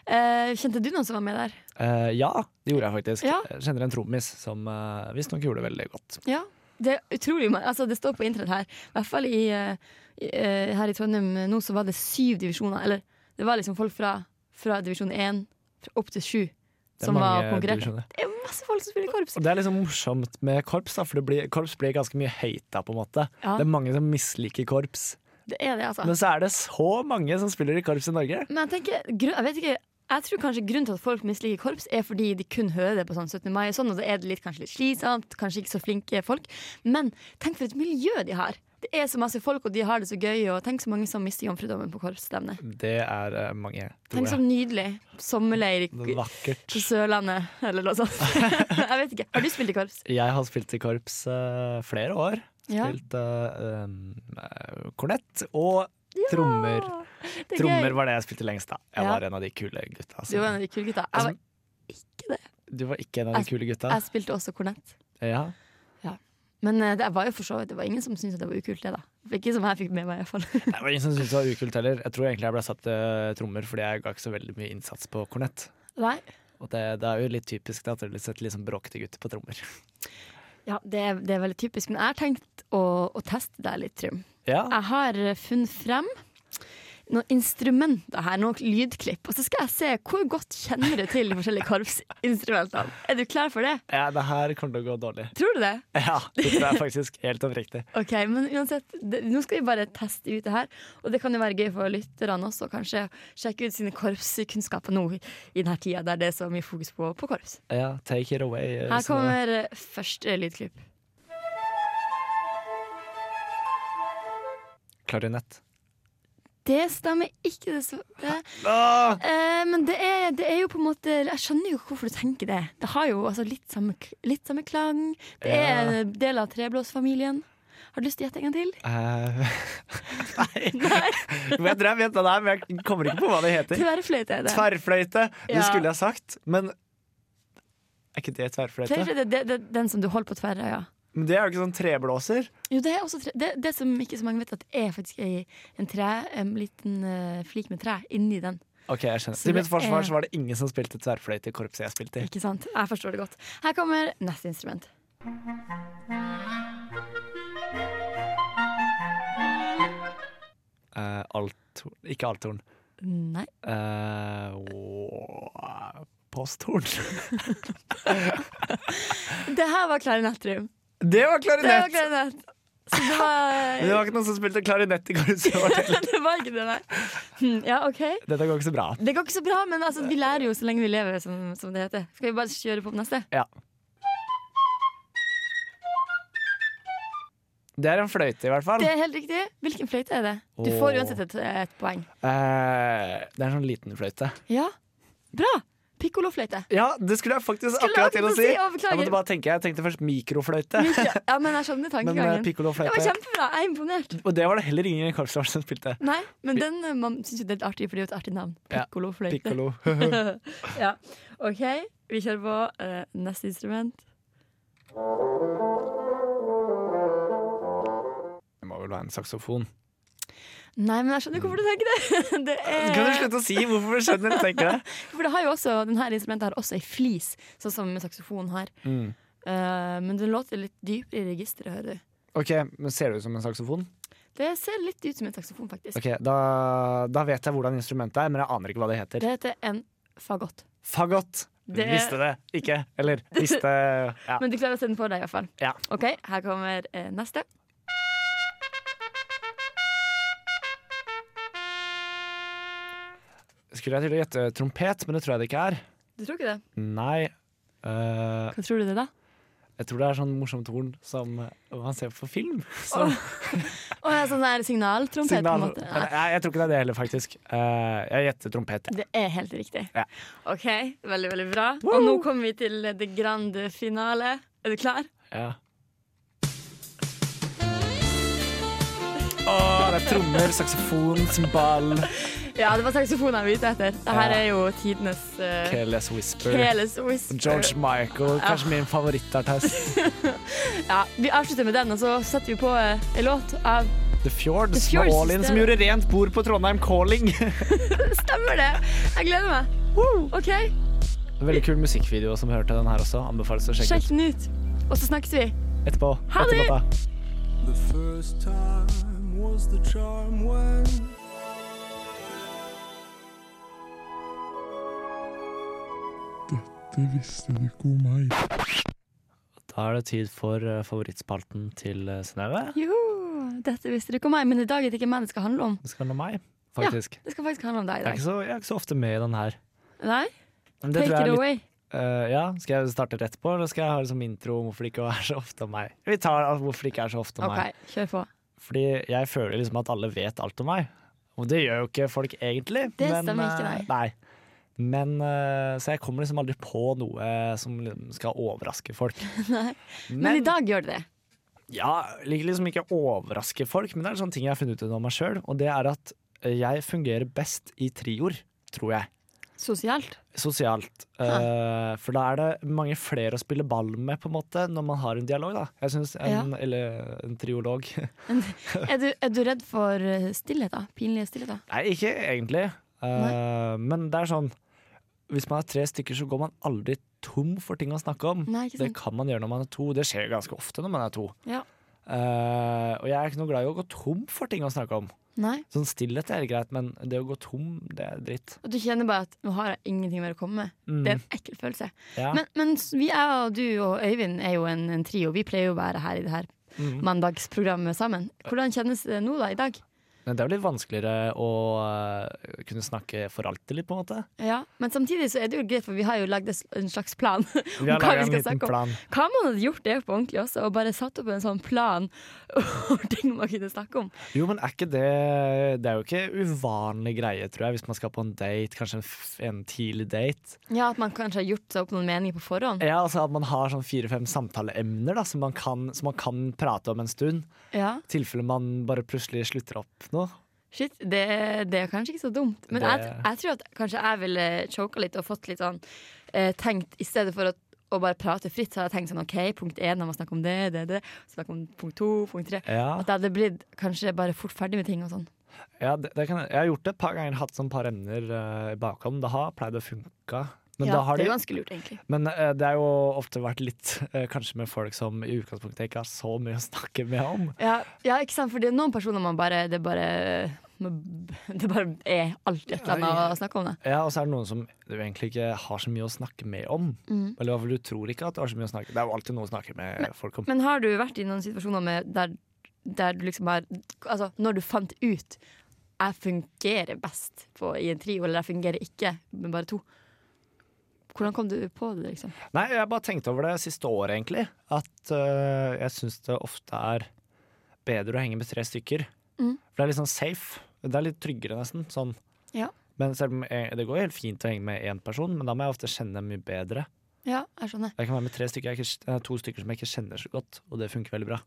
[SPEAKER 3] Eh, kjente du noen som var med der?
[SPEAKER 2] Eh, ja, det gjorde jeg faktisk.
[SPEAKER 3] Ja.
[SPEAKER 2] Jeg kjenner en trommis som uh, visstnok gjorde det veldig godt.
[SPEAKER 3] Ja. Det er utrolig mange. Altså, det står på internett her. I hvert fall i, eh, i, eh, her i Trondheim eh, nå så var det syv divisjoner. Eller det var liksom folk fra, fra divisjon én fra opp til sju
[SPEAKER 2] Det er
[SPEAKER 3] som var
[SPEAKER 2] mange
[SPEAKER 3] konkurrenter.
[SPEAKER 2] divisjoner.
[SPEAKER 3] Det er masse folk som spiller korps.
[SPEAKER 2] Og det er liksom morsomt med korps, da, for det blir, korps blir ganske mye hata, på en måte.
[SPEAKER 3] Ja.
[SPEAKER 2] Det er mange som misliker korps.
[SPEAKER 3] Det er det, altså.
[SPEAKER 2] Men så er det så mange som spiller i korps i Norge.
[SPEAKER 3] Men jeg tenker, grunn, jeg vet ikke jeg tror kanskje grunnen til at folk misliker korps, er fordi de kun hører det på sånn 17. mai, og sånn, og da er det litt, kanskje litt slitsomt, kanskje ikke så flinke folk. Men tenk for et miljø de har! Det er så masse folk, og de har det så gøy, og tenk så mange som mister jomfrudommen på korpsstevne.
[SPEAKER 2] Det er eh, mange,
[SPEAKER 3] Tenk
[SPEAKER 2] tror
[SPEAKER 3] så
[SPEAKER 2] jeg.
[SPEAKER 3] nydelig sommerleir
[SPEAKER 2] Det er
[SPEAKER 3] i-
[SPEAKER 2] Vakkert.
[SPEAKER 3] på Sørlandet, eller noe
[SPEAKER 2] [LAUGHS]
[SPEAKER 3] sånt. jeg vet ikke. Har du spilt i korps?
[SPEAKER 2] Jeg har spilt i korps eh, flere år.
[SPEAKER 3] Ja.
[SPEAKER 2] Spilt eh, um, eh, kornett og trommer.
[SPEAKER 3] Det er
[SPEAKER 2] Trommer
[SPEAKER 3] gøy.
[SPEAKER 2] var det jeg spilte lengst, da. Jeg
[SPEAKER 3] Ja.
[SPEAKER 2] var en av de kule gutta.
[SPEAKER 3] Du
[SPEAKER 2] som-
[SPEAKER 3] var en av de kule gutta. Jeg,
[SPEAKER 2] Altså,
[SPEAKER 3] var, ikke det.
[SPEAKER 2] Du var ikke en av de
[SPEAKER 3] Jeg-
[SPEAKER 2] kule gutta?
[SPEAKER 3] jeg spilte også kornett.
[SPEAKER 2] Ja.
[SPEAKER 3] Men eh, det var jo for så vidt Det var ingen som syntes at det var ukult, det, da. Ikke som jeg fikk med meg, iallfall.
[SPEAKER 2] Det var ingen som syntes det var ukult heller. Jeg tror egentlig jeg ble satt til trommer fordi jeg ga ikke så veldig mye innsats på kornett.
[SPEAKER 3] Nei.
[SPEAKER 2] Og det, det er jo litt typisk da, at det setter litt sånn bråkete gutter på trommer. [LAUGHS]
[SPEAKER 3] Ja, det, er- det er veldig typisk. Men jeg har tenkt å, å teste deg litt, Trym.
[SPEAKER 2] Ja,
[SPEAKER 3] Jeg har eh, funnet frem noen instrumenter her, noen lydklipp. Og så skal jeg se hvor godt kjenner du til de forskjellige korpsinstrumentene. Er du klar for det?
[SPEAKER 2] ja det her kommer til å gå dårlig.
[SPEAKER 3] Tror du det?
[SPEAKER 2] [LAUGHS] Ja, det tror jeg faktisk helt oppriktig.
[SPEAKER 3] Ok, men uansett, det, nå skal vi bare teste ut det her. Og det kan jo være gøy for lytterne også, kanskje. Sjekke ut sine korpskunnskaper nå i denne tida der det er så mye fokus på, på korps.
[SPEAKER 2] Ja, take it away.
[SPEAKER 3] Her
[SPEAKER 2] Synnøve.
[SPEAKER 3] kommer eh, første lydklipp.
[SPEAKER 2] Klarinett.
[SPEAKER 3] Det stemmer ikke, det. så- det
[SPEAKER 2] Åh!
[SPEAKER 3] Eh, men det er, det er jo på en måte Jeg skjønner jo hvorfor du tenker det. Det har jo altså litt, samme, k- litt samme klang. Det er
[SPEAKER 2] Ja.
[SPEAKER 3] en del av treblåsfamilien. Har du lyst til å gjette en gang til?
[SPEAKER 2] Eh, [LAUGHS] Nei. Men jeg tror jeg vet hva det er, men jeg kommer ikke på hva det heter.
[SPEAKER 3] Tverrfløyte er det.
[SPEAKER 2] Tverrfløyte! Det
[SPEAKER 3] Ja.
[SPEAKER 2] skulle jeg sagt, men Er ikke det tverrfløyte?
[SPEAKER 3] Tverrfløyte det, det, den som du holder på tverra, ja.
[SPEAKER 2] Men det er jo ikke sånn treblåser.
[SPEAKER 3] Jo, det er også tre, det, det som ikke så mange vet, at det er faktisk ei, en tre, en liten eh, flik med tre inni den.
[SPEAKER 2] Ok, jeg skjønner
[SPEAKER 3] Så
[SPEAKER 2] Til
[SPEAKER 3] det
[SPEAKER 2] mitt forsvar
[SPEAKER 3] er-
[SPEAKER 2] så var det ingen som spilte tverrfløyte i korpset jeg spilte i.
[SPEAKER 3] Ikke sant? Jeg forstår det godt. Her kommer neste instrument.
[SPEAKER 2] Eh, althorn Ikke althorn.
[SPEAKER 3] Nei.
[SPEAKER 2] Eh, åh, posthorn. [LAUGHS]
[SPEAKER 3] Det her var klarinettrum.
[SPEAKER 2] Det var
[SPEAKER 3] Det var
[SPEAKER 2] klarinett!
[SPEAKER 3] klarinett. Så det
[SPEAKER 2] Men det
[SPEAKER 3] var
[SPEAKER 2] var ikke noen som spilte klarinett i korpset. vårt heller.
[SPEAKER 3] [LAUGHS] Det var ikke det, nei. Hm, Ja, OK.
[SPEAKER 2] Dette går ikke så bra.
[SPEAKER 3] Det går ikke så bra, men altså, vi lærer jo så lenge vi lever, som, som det heter. Skal vi bare kjøre på på neste?
[SPEAKER 2] Ja. Det er en fløyte, i hvert fall.
[SPEAKER 3] Det
[SPEAKER 2] Det,
[SPEAKER 3] er helt riktig. Hvilken fløyte er det? Du får uansett et, et poeng.
[SPEAKER 2] det er en sånn liten fløyte.
[SPEAKER 3] Ja, bra! Pikkolofløyte.
[SPEAKER 2] Ja, det skulle jeg faktisk
[SPEAKER 3] Skulle jeg
[SPEAKER 2] akkurat til å
[SPEAKER 3] akkurat
[SPEAKER 2] si!
[SPEAKER 3] si, å, beklager.
[SPEAKER 2] jeg måtte bare tenke, jeg tenkte først mikrofløyte,
[SPEAKER 3] [LAUGHS] Ja, men jeg skjønner
[SPEAKER 2] men eh,
[SPEAKER 3] tankegangen. Det var
[SPEAKER 2] pikkolofløyte.
[SPEAKER 3] kjempebra. Jeg er imponert.
[SPEAKER 2] Og det var det heller ingen i korpset vårt som spilte.
[SPEAKER 3] [LAUGHS] Nei, men den eh, man syns jo det er litt artig, for det er jo et artig navn.
[SPEAKER 2] Ja,
[SPEAKER 3] Pikkolofløyte.
[SPEAKER 2] Pikkolo.
[SPEAKER 3] ja. OK, vi kjører på eh, neste instrument.
[SPEAKER 2] Det må vel være en saksofon.
[SPEAKER 3] Nei, men jeg skjønner hvorfor du tenker det. [LAUGHS] det er...
[SPEAKER 2] Kan du slutte å si hvorfor du skjønner du tenker det?
[SPEAKER 3] For det har jo også, den her instrumentet har også ei flis, sånn som saksofonen har.
[SPEAKER 2] Mm.
[SPEAKER 3] Eh, men den låter litt dypere i registeret, hører du.
[SPEAKER 2] Ok, men Ser det ut som en saksofon?
[SPEAKER 3] Det ser litt ut som en saksofon, faktisk.
[SPEAKER 2] Ok, Da, da vet jeg hvordan instrumentet er, men jeg aner ikke hva det heter.
[SPEAKER 3] Det heter en fagott.
[SPEAKER 2] Fagott!
[SPEAKER 3] Det-
[SPEAKER 2] Visste det ikke. Eller visste
[SPEAKER 3] [LAUGHS]
[SPEAKER 2] ja.
[SPEAKER 3] Men du klarer å se den for deg, iallfall.
[SPEAKER 2] Ja.
[SPEAKER 3] OK, her kommer eh, neste.
[SPEAKER 2] Skulle jeg til å gjette trompet, men det tror jeg det ikke er.
[SPEAKER 3] Du tror ikke det?
[SPEAKER 2] Nei. Eh,
[SPEAKER 3] Hva tror du det, da?
[SPEAKER 2] jeg tror det er sånn morsomt horn som man ser på film. [LAUGHS] Som
[SPEAKER 3] Å ja, sånn der signaltrompet,
[SPEAKER 2] signal.
[SPEAKER 3] på en måte.
[SPEAKER 2] Men
[SPEAKER 3] Nei,
[SPEAKER 2] Nei, jeg tror ikke det er det heller, faktisk. Eh, jeg gjetter trompet. jeg.
[SPEAKER 3] det er helt riktig.
[SPEAKER 2] Ja.
[SPEAKER 3] OK, veldig, veldig bra. Og nå kommer vi til eh, det grande finale. Er du klar?
[SPEAKER 2] Ja. Å, det er trommer, saksofon, cymbal
[SPEAKER 3] Ja, det var saksofon han var ute etter. Dette her er jo tidenes eh,
[SPEAKER 2] Careless Whisper.
[SPEAKER 3] Keles Whisper.
[SPEAKER 2] George Michael,
[SPEAKER 3] Ja.
[SPEAKER 2] kanskje min favorittartist.
[SPEAKER 3] Ja, vi avslutter med den, og så setter vi på eh, en låt av
[SPEAKER 2] The Fjords,
[SPEAKER 3] The
[SPEAKER 2] The
[SPEAKER 3] Fjords,
[SPEAKER 2] med Ålin som
[SPEAKER 3] det-
[SPEAKER 2] gjorde rent bord på Trondheim
[SPEAKER 3] [LAUGHS]
[SPEAKER 2] Calling.
[SPEAKER 3] Stemmer det! Jeg gleder meg. OK,
[SPEAKER 2] Veldig kul musikkvideo som hørte den her også. Anbefales å sjekke
[SPEAKER 3] sjekk den ut. Og så snakkes vi.
[SPEAKER 2] ut etterpå.
[SPEAKER 3] Ha
[SPEAKER 2] etter
[SPEAKER 3] det!
[SPEAKER 2] låta.
[SPEAKER 5] The first time was the charm when Dette visste du ikke om meg.
[SPEAKER 2] Da er det tid for eh, favorittspalten til eh, Synnøve.
[SPEAKER 3] Jo, dette visste du ikke om meg, men i dag er det ikke meg det skal handle om.
[SPEAKER 2] Det skal nå meg, faktisk.
[SPEAKER 3] Det skal faktisk handle om deg i
[SPEAKER 2] Jeg, er
[SPEAKER 3] dag.
[SPEAKER 2] ikke så, jeg er ikke så ofte med i den her.
[SPEAKER 3] Nei?
[SPEAKER 2] Men det
[SPEAKER 3] Take
[SPEAKER 2] tror
[SPEAKER 3] it
[SPEAKER 2] jeg er litt,
[SPEAKER 3] away.
[SPEAKER 2] eh, ja, skal jeg starte rett på, eller skal jeg ha liksom intro om hvorfor det ikke er så ofte om meg? Vi tar altså, hvorfor det ikke er så ofte om
[SPEAKER 3] OK,
[SPEAKER 2] meg.
[SPEAKER 3] kjør på.
[SPEAKER 2] Fordi jeg føler liksom at alle vet alt om meg. Og det gjør jo ikke folk egentlig.
[SPEAKER 3] Det stemmer ikke,
[SPEAKER 2] eh, nei. Men, eh, så jeg kommer liksom aldri på noe som liksom skal
[SPEAKER 3] [LAUGHS]
[SPEAKER 2] overraske folk.
[SPEAKER 3] Men i dag gjør det det.
[SPEAKER 2] Ja, liker liksom ikke å overraske folk, men det er sånne ting jeg har funnet ut om meg sjøl. Og det er at eh, jeg fungerer best i trioer, tror jeg. [LAUGHS]
[SPEAKER 3] Sosialt.
[SPEAKER 2] Sosialt. Eh, for da er det mange flere å spille ball med, på en måte, når man har en dialog, da. Jeg synes en, Eller en triolog. [LAUGHS]
[SPEAKER 3] Er du, er du redd for eh, stillheter? Pinlige stillheter?
[SPEAKER 2] Nei, ikke egentlig. Eh, men det er sånn Hvis man er tre stykker, så går man aldri tom for ting å snakke om.
[SPEAKER 3] Nei, ikke
[SPEAKER 2] Det
[SPEAKER 3] sant?
[SPEAKER 2] kan man gjøre når man er to. Det skjer ganske ofte når man er to.
[SPEAKER 3] Ja.
[SPEAKER 2] Eh, og jeg er ikke noe glad i å gå tom for ting å snakke om.
[SPEAKER 3] Nei?
[SPEAKER 2] Sånn stillhet er greit, men det å gå tom, det er dritt.
[SPEAKER 3] At du kjenner bare at nå har jeg ingenting mer å komme med.
[SPEAKER 2] Mm.
[SPEAKER 3] Det er en ekkel følelse.
[SPEAKER 2] Ja.
[SPEAKER 3] Men, men s- vi er, jo- du og Øyvind er jo en, en trio. Vi pleier jo å være her i det her
[SPEAKER 2] Mhm.
[SPEAKER 3] mandagsprogrammet sammen. Hvordan kjennes det nå, da, i dag?
[SPEAKER 2] Men det er jo litt vanskeligere å eh, kunne snakke for alltid, litt, på en måte.
[SPEAKER 3] Ja, Men samtidig så er det jo greit, for vi har jo lagd en slags plan. [LAUGHS]
[SPEAKER 2] Vi har
[SPEAKER 3] Om hva vi
[SPEAKER 2] laget en
[SPEAKER 3] skal
[SPEAKER 2] liten
[SPEAKER 3] snakke om.
[SPEAKER 2] plan.
[SPEAKER 3] Hva om man hadde gjort det på ordentlig også, og bare satt opp en sånn plan [LAUGHS] over ting man kunne snakke om?
[SPEAKER 2] Jo, men er ikke det Det er jo ikke uvanlig greie, tror jeg, hvis man skal på en date, kanskje en, f- en tidlig date.
[SPEAKER 3] Ja, At man kanskje har gjort seg opp noen meninger på forhånd?
[SPEAKER 2] Ja, altså At man har sånn fire-fem samtaleemner da, som man, kan, som man kan prate om en stund.
[SPEAKER 3] Ja,
[SPEAKER 2] I tilfelle man bare plutselig slutter opp nå.
[SPEAKER 3] Shit, det, det er kanskje ikke så dumt. Men jeg,
[SPEAKER 2] Det-
[SPEAKER 3] jeg tror at kanskje jeg ville choka litt og fått litt sånn eh, tenkt I stedet for å, å bare prate fritt, så hadde jeg tenkt sånn OK, punkt én, jeg må snakke om det, det, det. Snakke om punkt to, punkt tre.
[SPEAKER 2] Ja,
[SPEAKER 3] At jeg hadde blitt kanskje bare fort ferdig med ting og sånn.
[SPEAKER 2] ja det, det kan, jeg- Jeg har gjort det et par ganger, hatt sånn par emner eh, i bakhånd. Det har pleid å funke. Men,
[SPEAKER 3] Ja,
[SPEAKER 2] da har
[SPEAKER 3] det
[SPEAKER 2] de,
[SPEAKER 3] er ganske lurt, egentlig.
[SPEAKER 2] men eh, det er jo ofte vært litt eh, kanskje med folk som i utgangspunktet ikke har så mye å snakke med om.
[SPEAKER 3] Ja, ja ikke sant, for det er noen personer man bare Det bare, [LAUGHS] det bare er alltid et eller annet å snakke om det.
[SPEAKER 2] Ja, Og så er det noen som du egentlig ikke har så mye å snakke med om. Eller i hvert fall du tror ikke at du har så mye å snakke Det er jo alltid noe å snakke med folk om.
[SPEAKER 3] Mm. Men har du vært i noen situasjoner med der, der du liksom har Altså, når du fant ut jeg fungerer best på, i en trio, eller jeg fungerer ikke med bare to. Hvordan kom du på det, liksom?
[SPEAKER 2] Nei, jeg bare tenkte over det siste året, egentlig. At øh, jeg syns det ofte er bedre å henge med tre stykker.
[SPEAKER 3] Mm.
[SPEAKER 2] For det er litt sånn safe. Det er litt tryggere, nesten. Sånn.
[SPEAKER 3] Ja.
[SPEAKER 2] Men selv om jeg, det går helt fint å henge med én person, men da må jeg ofte kjenne mye bedre.
[SPEAKER 3] Ja, jeg skjønner.
[SPEAKER 2] Jeg kan være med tre stykker, jeg er ikke, eh, to stykker som jeg ikke kjenner så godt, og det funker veldig bra.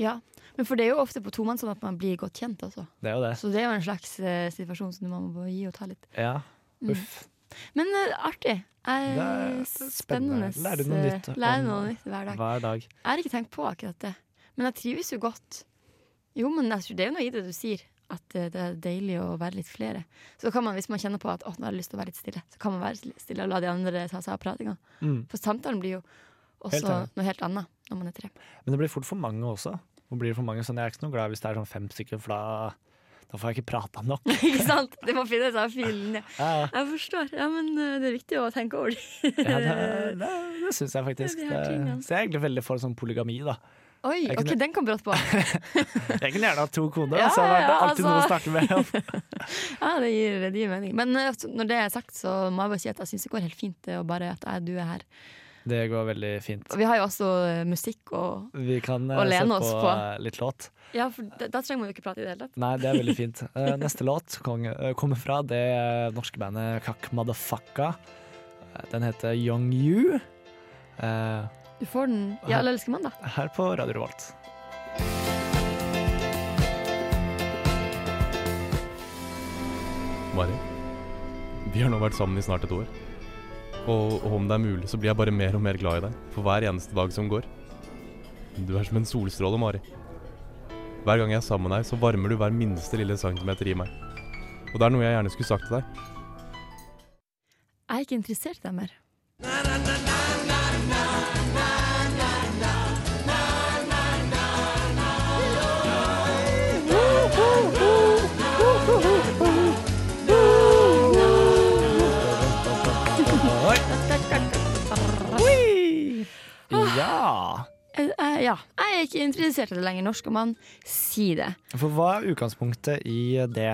[SPEAKER 3] Ja. Men for det er jo ofte på tomannshånd at man blir godt kjent, altså.
[SPEAKER 2] Det er jo det.
[SPEAKER 3] Så det er jo en slags eh, situasjon som man må gi og ta litt.
[SPEAKER 2] Ja.
[SPEAKER 3] Mm.
[SPEAKER 2] Uff.
[SPEAKER 3] Men eh, artig. Eh,
[SPEAKER 2] Det er- det er
[SPEAKER 3] spennende.
[SPEAKER 2] spennende. Lærer du noe nytt om-
[SPEAKER 3] Lærer noe nytt hver dag.
[SPEAKER 2] Hver dag.
[SPEAKER 3] Jeg har ikke tenkt på akkurat det. Men jeg trives jo godt. Jo, men jeg tror det er jo noe i det du sier, at eh, det er deilig å være litt flere. Så kan man, hvis man kjenner på at å, nå har jeg lyst til å være litt stille, så kan man være litt stille og la de andre ta seg av pratinga.
[SPEAKER 2] Mm.
[SPEAKER 3] For samtalen blir jo også
[SPEAKER 2] Helt enig.
[SPEAKER 3] noe helt annet når man er tre. [LAUGHS]
[SPEAKER 2] Men det blir fort for mange også. Det blir for mange, sånn, Jeg er ikke så noe glad hvis det er sånn fem stykker, for da, da får jeg ikke
[SPEAKER 3] [LAUGHS]
[SPEAKER 2] prata nok.
[SPEAKER 3] ikke sant? Det må finnes av filen, ja.
[SPEAKER 2] Ja, ja.
[SPEAKER 3] Jeg forstår. Ja, men eh, det er viktig å tenke over det.
[SPEAKER 2] Ja, det det, det syns jeg faktisk.
[SPEAKER 3] Det er
[SPEAKER 2] Det,
[SPEAKER 3] de her tingene.
[SPEAKER 2] så jeg er egentlig veldig for sånn polygami, da.
[SPEAKER 3] Oi,
[SPEAKER 2] Jeg
[SPEAKER 3] ok,
[SPEAKER 2] kunne-
[SPEAKER 3] den kom brått på.
[SPEAKER 2] Jeg kunne gjerne hatt to koner,
[SPEAKER 3] Ja,
[SPEAKER 2] så det
[SPEAKER 3] ja,
[SPEAKER 2] er alltid
[SPEAKER 3] altså.
[SPEAKER 2] noe å snakke med
[SPEAKER 3] [LAUGHS]
[SPEAKER 2] om.
[SPEAKER 3] Ja, det gir, det gir mening. Men eh, altså, når det er sagt, så må jeg bare si at jeg syns det går helt fint, det, og bare at jeg, du er her.
[SPEAKER 2] Det går veldig fint.
[SPEAKER 3] Og vi har jo også eh, musikk og
[SPEAKER 2] Vi kan eh,
[SPEAKER 3] Og lene
[SPEAKER 2] sette
[SPEAKER 3] oss
[SPEAKER 2] på,
[SPEAKER 3] på.
[SPEAKER 2] eh, litt låt.
[SPEAKER 3] Ja, for da, da trenger man jo ikke prate i det hele tatt.
[SPEAKER 2] Nei, det er veldig fint. Eh, Neste låt kong- eh, kommer fra det eh, norske bandet Kakk Madafakka. Eh, Den heter Young You. Eh,
[SPEAKER 3] Du får den i Alle elsker mandag.
[SPEAKER 2] her på Radio Revolt.
[SPEAKER 6] Mari. Vi har nå vært sammen i snart et år. Og, og om det er mulig, så blir jeg bare mer og mer glad i deg for hver eneste dag som går. Du er som en solstråle, Mari. Hver gang jeg er sammen med deg, så varmer du hver minste lille centimeter i meg. Og det er noe jeg gjerne skulle sagt til deg.
[SPEAKER 3] Jeg er ikke interessert i deg mer.
[SPEAKER 2] Ja.
[SPEAKER 3] Jeg, jeg, Eh, ja. jeg er ikke interessert i det lenger. Når skal man si det?
[SPEAKER 2] For hva er utgangspunktet i det?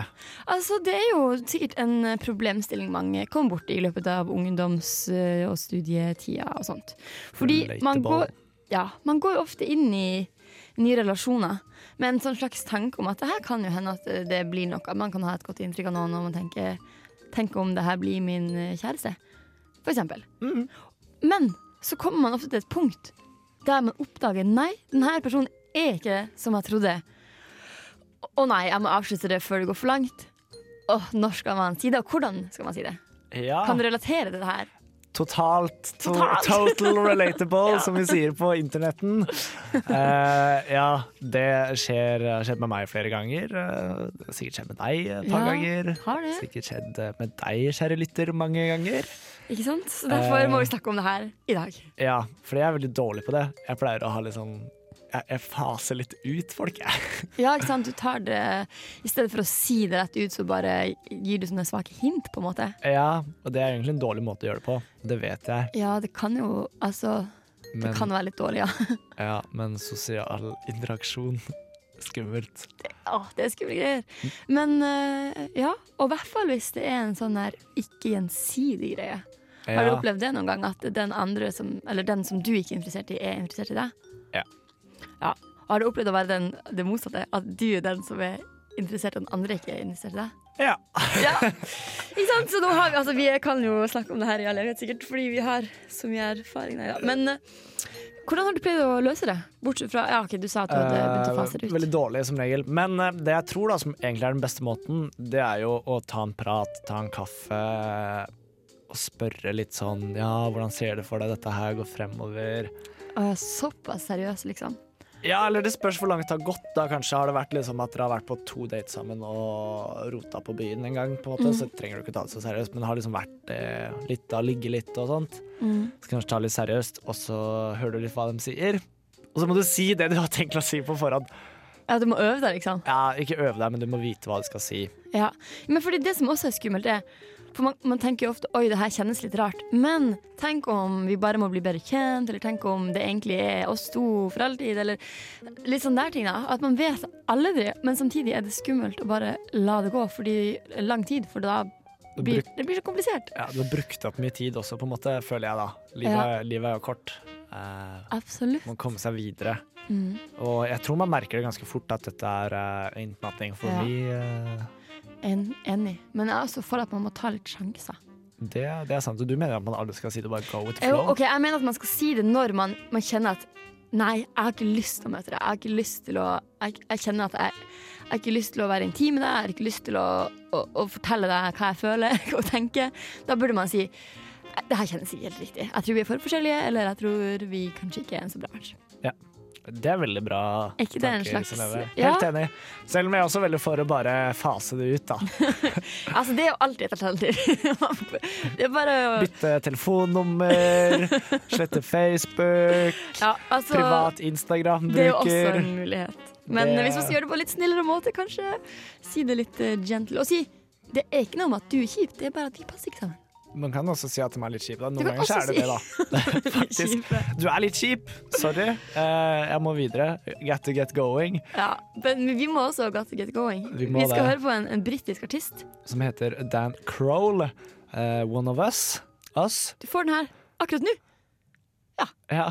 [SPEAKER 3] Altså, Det er jo sikkert en eh, problemstilling mange kom borti i løpet av ungdoms- eh, og studietida og sånt. Fordi man
[SPEAKER 2] Relatable.
[SPEAKER 3] går, ja, man går jo ofte inn i nye relasjoner med en sånn slags tanke om at det her kan jo hende at eh, det blir noe. At man kan ha et godt inntrykk av noen og man tenker Tenk om det her blir min eh, kjæreste, for eksempel. Men så kommer man ofte til et punkt der man oppdager nei, denne personen er ikke som jeg trodde. Å nei, jeg må avslutte det før det går for langt. Åh, når skal man si det, og hvordan skal man si det?
[SPEAKER 2] Ja.
[SPEAKER 3] Kan du relatere til det her?
[SPEAKER 2] Totalt, to
[SPEAKER 3] Totalt.
[SPEAKER 2] Total relatable,
[SPEAKER 3] [LAUGHS]
[SPEAKER 2] som vi sier på internetten. Eh, ja, det skjer, skjedd med meg flere ganger. eh, det har sikkert skjedd med deg et par
[SPEAKER 3] Ja,
[SPEAKER 2] ganger.
[SPEAKER 3] har det.
[SPEAKER 2] Sikkert skjedd eh, med deg, kjære lytter, mange ganger.
[SPEAKER 3] Ikke sant? Så derfor må vi snakke om det her i dag.
[SPEAKER 2] Ja, for jeg er veldig dårlig på det. Jeg pleier å ha litt sånn Jeg, jeg faser litt ut folk, jeg. [LAUGHS]
[SPEAKER 3] Ja, ikke sant? Du tar det I stedet for å si det rett ut, så bare gir du sånne svake hint, på en måte.
[SPEAKER 2] Ja, og det er egentlig en dårlig måte å gjøre det på. Det vet jeg.
[SPEAKER 3] Ja, det kan jo Altså, det
[SPEAKER 2] Men,
[SPEAKER 3] kan være litt dårlig, ja. [LAUGHS]
[SPEAKER 2] ja, men sosial interaksjon [LAUGHS] Skummelt.
[SPEAKER 3] Åh, det er skumle greier. Men eh, ja, og i hvert fall hvis det er en sånn her ikke-gjensidig greie. Har du
[SPEAKER 2] Ja.
[SPEAKER 3] opplevd det noen gang, at den andre som, eller den som du ikke er interessert i, er interessert i deg?
[SPEAKER 2] Ja.
[SPEAKER 3] Ja. Og Har du opplevd å være den, det motsatte? At du er den som er interessert, og den andre ikke er interessert i
[SPEAKER 2] [LAUGHS]
[SPEAKER 3] deg?
[SPEAKER 2] Ja.
[SPEAKER 3] Ja. Ikke sant? Så nå har vi, altså, vi kan jo snakke om det her i all evighet, sikkert, fordi vi har så mye erfaring der. Ja. Men eh, hvordan har du pleid å løse det? Bortsett fra Ja, OK, du sa at du hadde begynt å fase det
[SPEAKER 2] Eh,
[SPEAKER 3] ut.
[SPEAKER 2] Veldig dårlig som regel. Men eh, det jeg tror da som egentlig er den beste måten, det er jo å ta en prat, ta en kaffe og spørre litt sånn Ja, hvordan ser du for deg dette her går fremover?
[SPEAKER 3] Å, ja, såpass seriøs, liksom.
[SPEAKER 2] Ja, eller det spørs hvor langt det har gått. da Kanskje har det vært liksom at dere har vært på to dates sammen og rota på byen en gang, på en måte,
[SPEAKER 3] Mm.
[SPEAKER 2] så trenger du ikke ta det så seriøst, men det har liksom vært eh, litt da, ligge litt og sånt.
[SPEAKER 3] Mm.
[SPEAKER 2] Så kanskje ta det litt seriøst, og så hører du litt hva de sier. Og så må du si det du har tenkt å si på forhånd.
[SPEAKER 3] Ja, du må øve deg, liksom.
[SPEAKER 2] Ja, ikke øve deg, men du må vite hva du skal si.
[SPEAKER 3] Ja, men fordi det som også er skummelt er For man, man tenker jo ofte Oi, det her kjennes litt rart Men tenk om vi bare må bli bedre kjent Eller tenk om det egentlig er oss to for alltid Eller litt sånne der ting da At man vet aldri Men samtidig er det skummelt å bare la det gå Fordi lang tid For da blir det blir så komplisert
[SPEAKER 2] Ja, du har brukt opp mye tid også, på en måte, føler jeg da. Livet,
[SPEAKER 3] Ja.
[SPEAKER 2] livet er jo kort. Eh,
[SPEAKER 3] Absolutt Mm.
[SPEAKER 2] må komme seg videre. Og jeg tror man merker det ganske fort at dette er eh, enten at ting for
[SPEAKER 3] Ja.
[SPEAKER 2] mye eh,
[SPEAKER 3] en, Enig Men jeg er også for at man må ta litt sjanser
[SPEAKER 2] det, det er sant. Og du mener at man aldri skal si det, bare go with the
[SPEAKER 3] Jo,
[SPEAKER 2] flow?
[SPEAKER 3] ok, jeg mener at man skal si det når man, man kjenner at Nei, jeg har ikke lyst til å møte deg. Jeg har ikke lyst til å Jeg, jeg kjenner at jeg, jeg har ikke lyst til å være intim med deg. Jeg har ikke lyst til å, å, å fortelle deg hva jeg føler [LAUGHS] og tenker. Da burde man si det her kjennes ikke helt riktig. Jeg tror vi er for forskjellige, eller jeg tror vi kanskje ikke er en så bra match.
[SPEAKER 2] Det er veldig bra.
[SPEAKER 3] Er ikke det en
[SPEAKER 2] tanker,
[SPEAKER 3] slags-
[SPEAKER 2] Synnøve.
[SPEAKER 3] Ja.
[SPEAKER 2] Helt enig. Selv om jeg er også veldig for å bare fase det
[SPEAKER 3] [LAUGHS]
[SPEAKER 2] ut, da.
[SPEAKER 3] Altså, det er jo alltid et alternativ. [LAUGHS] det er bare å
[SPEAKER 2] Bytte telefonnummer, slette Facebook,
[SPEAKER 3] ja, altså,
[SPEAKER 2] privat
[SPEAKER 3] Det er jo også
[SPEAKER 2] Instagram-bruker.
[SPEAKER 3] en mulighet. Men
[SPEAKER 2] Det-
[SPEAKER 3] hvis man skal gjøre det på en litt snillere måte, kanskje si det litt eh, gentle. Og si det er ikke noe om at du er kjip, det er bare at vi passer ikke sammen.
[SPEAKER 2] Man kan også si at de er litt kjipe. da. Noen
[SPEAKER 3] kan
[SPEAKER 2] ganger så
[SPEAKER 3] også
[SPEAKER 2] er det
[SPEAKER 3] si-
[SPEAKER 2] det, da.
[SPEAKER 3] [LAUGHS]
[SPEAKER 2] Faktisk. Du er litt kjip. Sorry. Eh, jeg må videre. Get to get going.
[SPEAKER 3] Ja, men vi må også got to get going.
[SPEAKER 2] Vi må
[SPEAKER 3] skal
[SPEAKER 2] det.
[SPEAKER 3] høre på en, en britisk artist.
[SPEAKER 2] Som heter Dan Crowell. Eh, one of us. Us.
[SPEAKER 3] Du får den her akkurat nå.
[SPEAKER 2] Ja.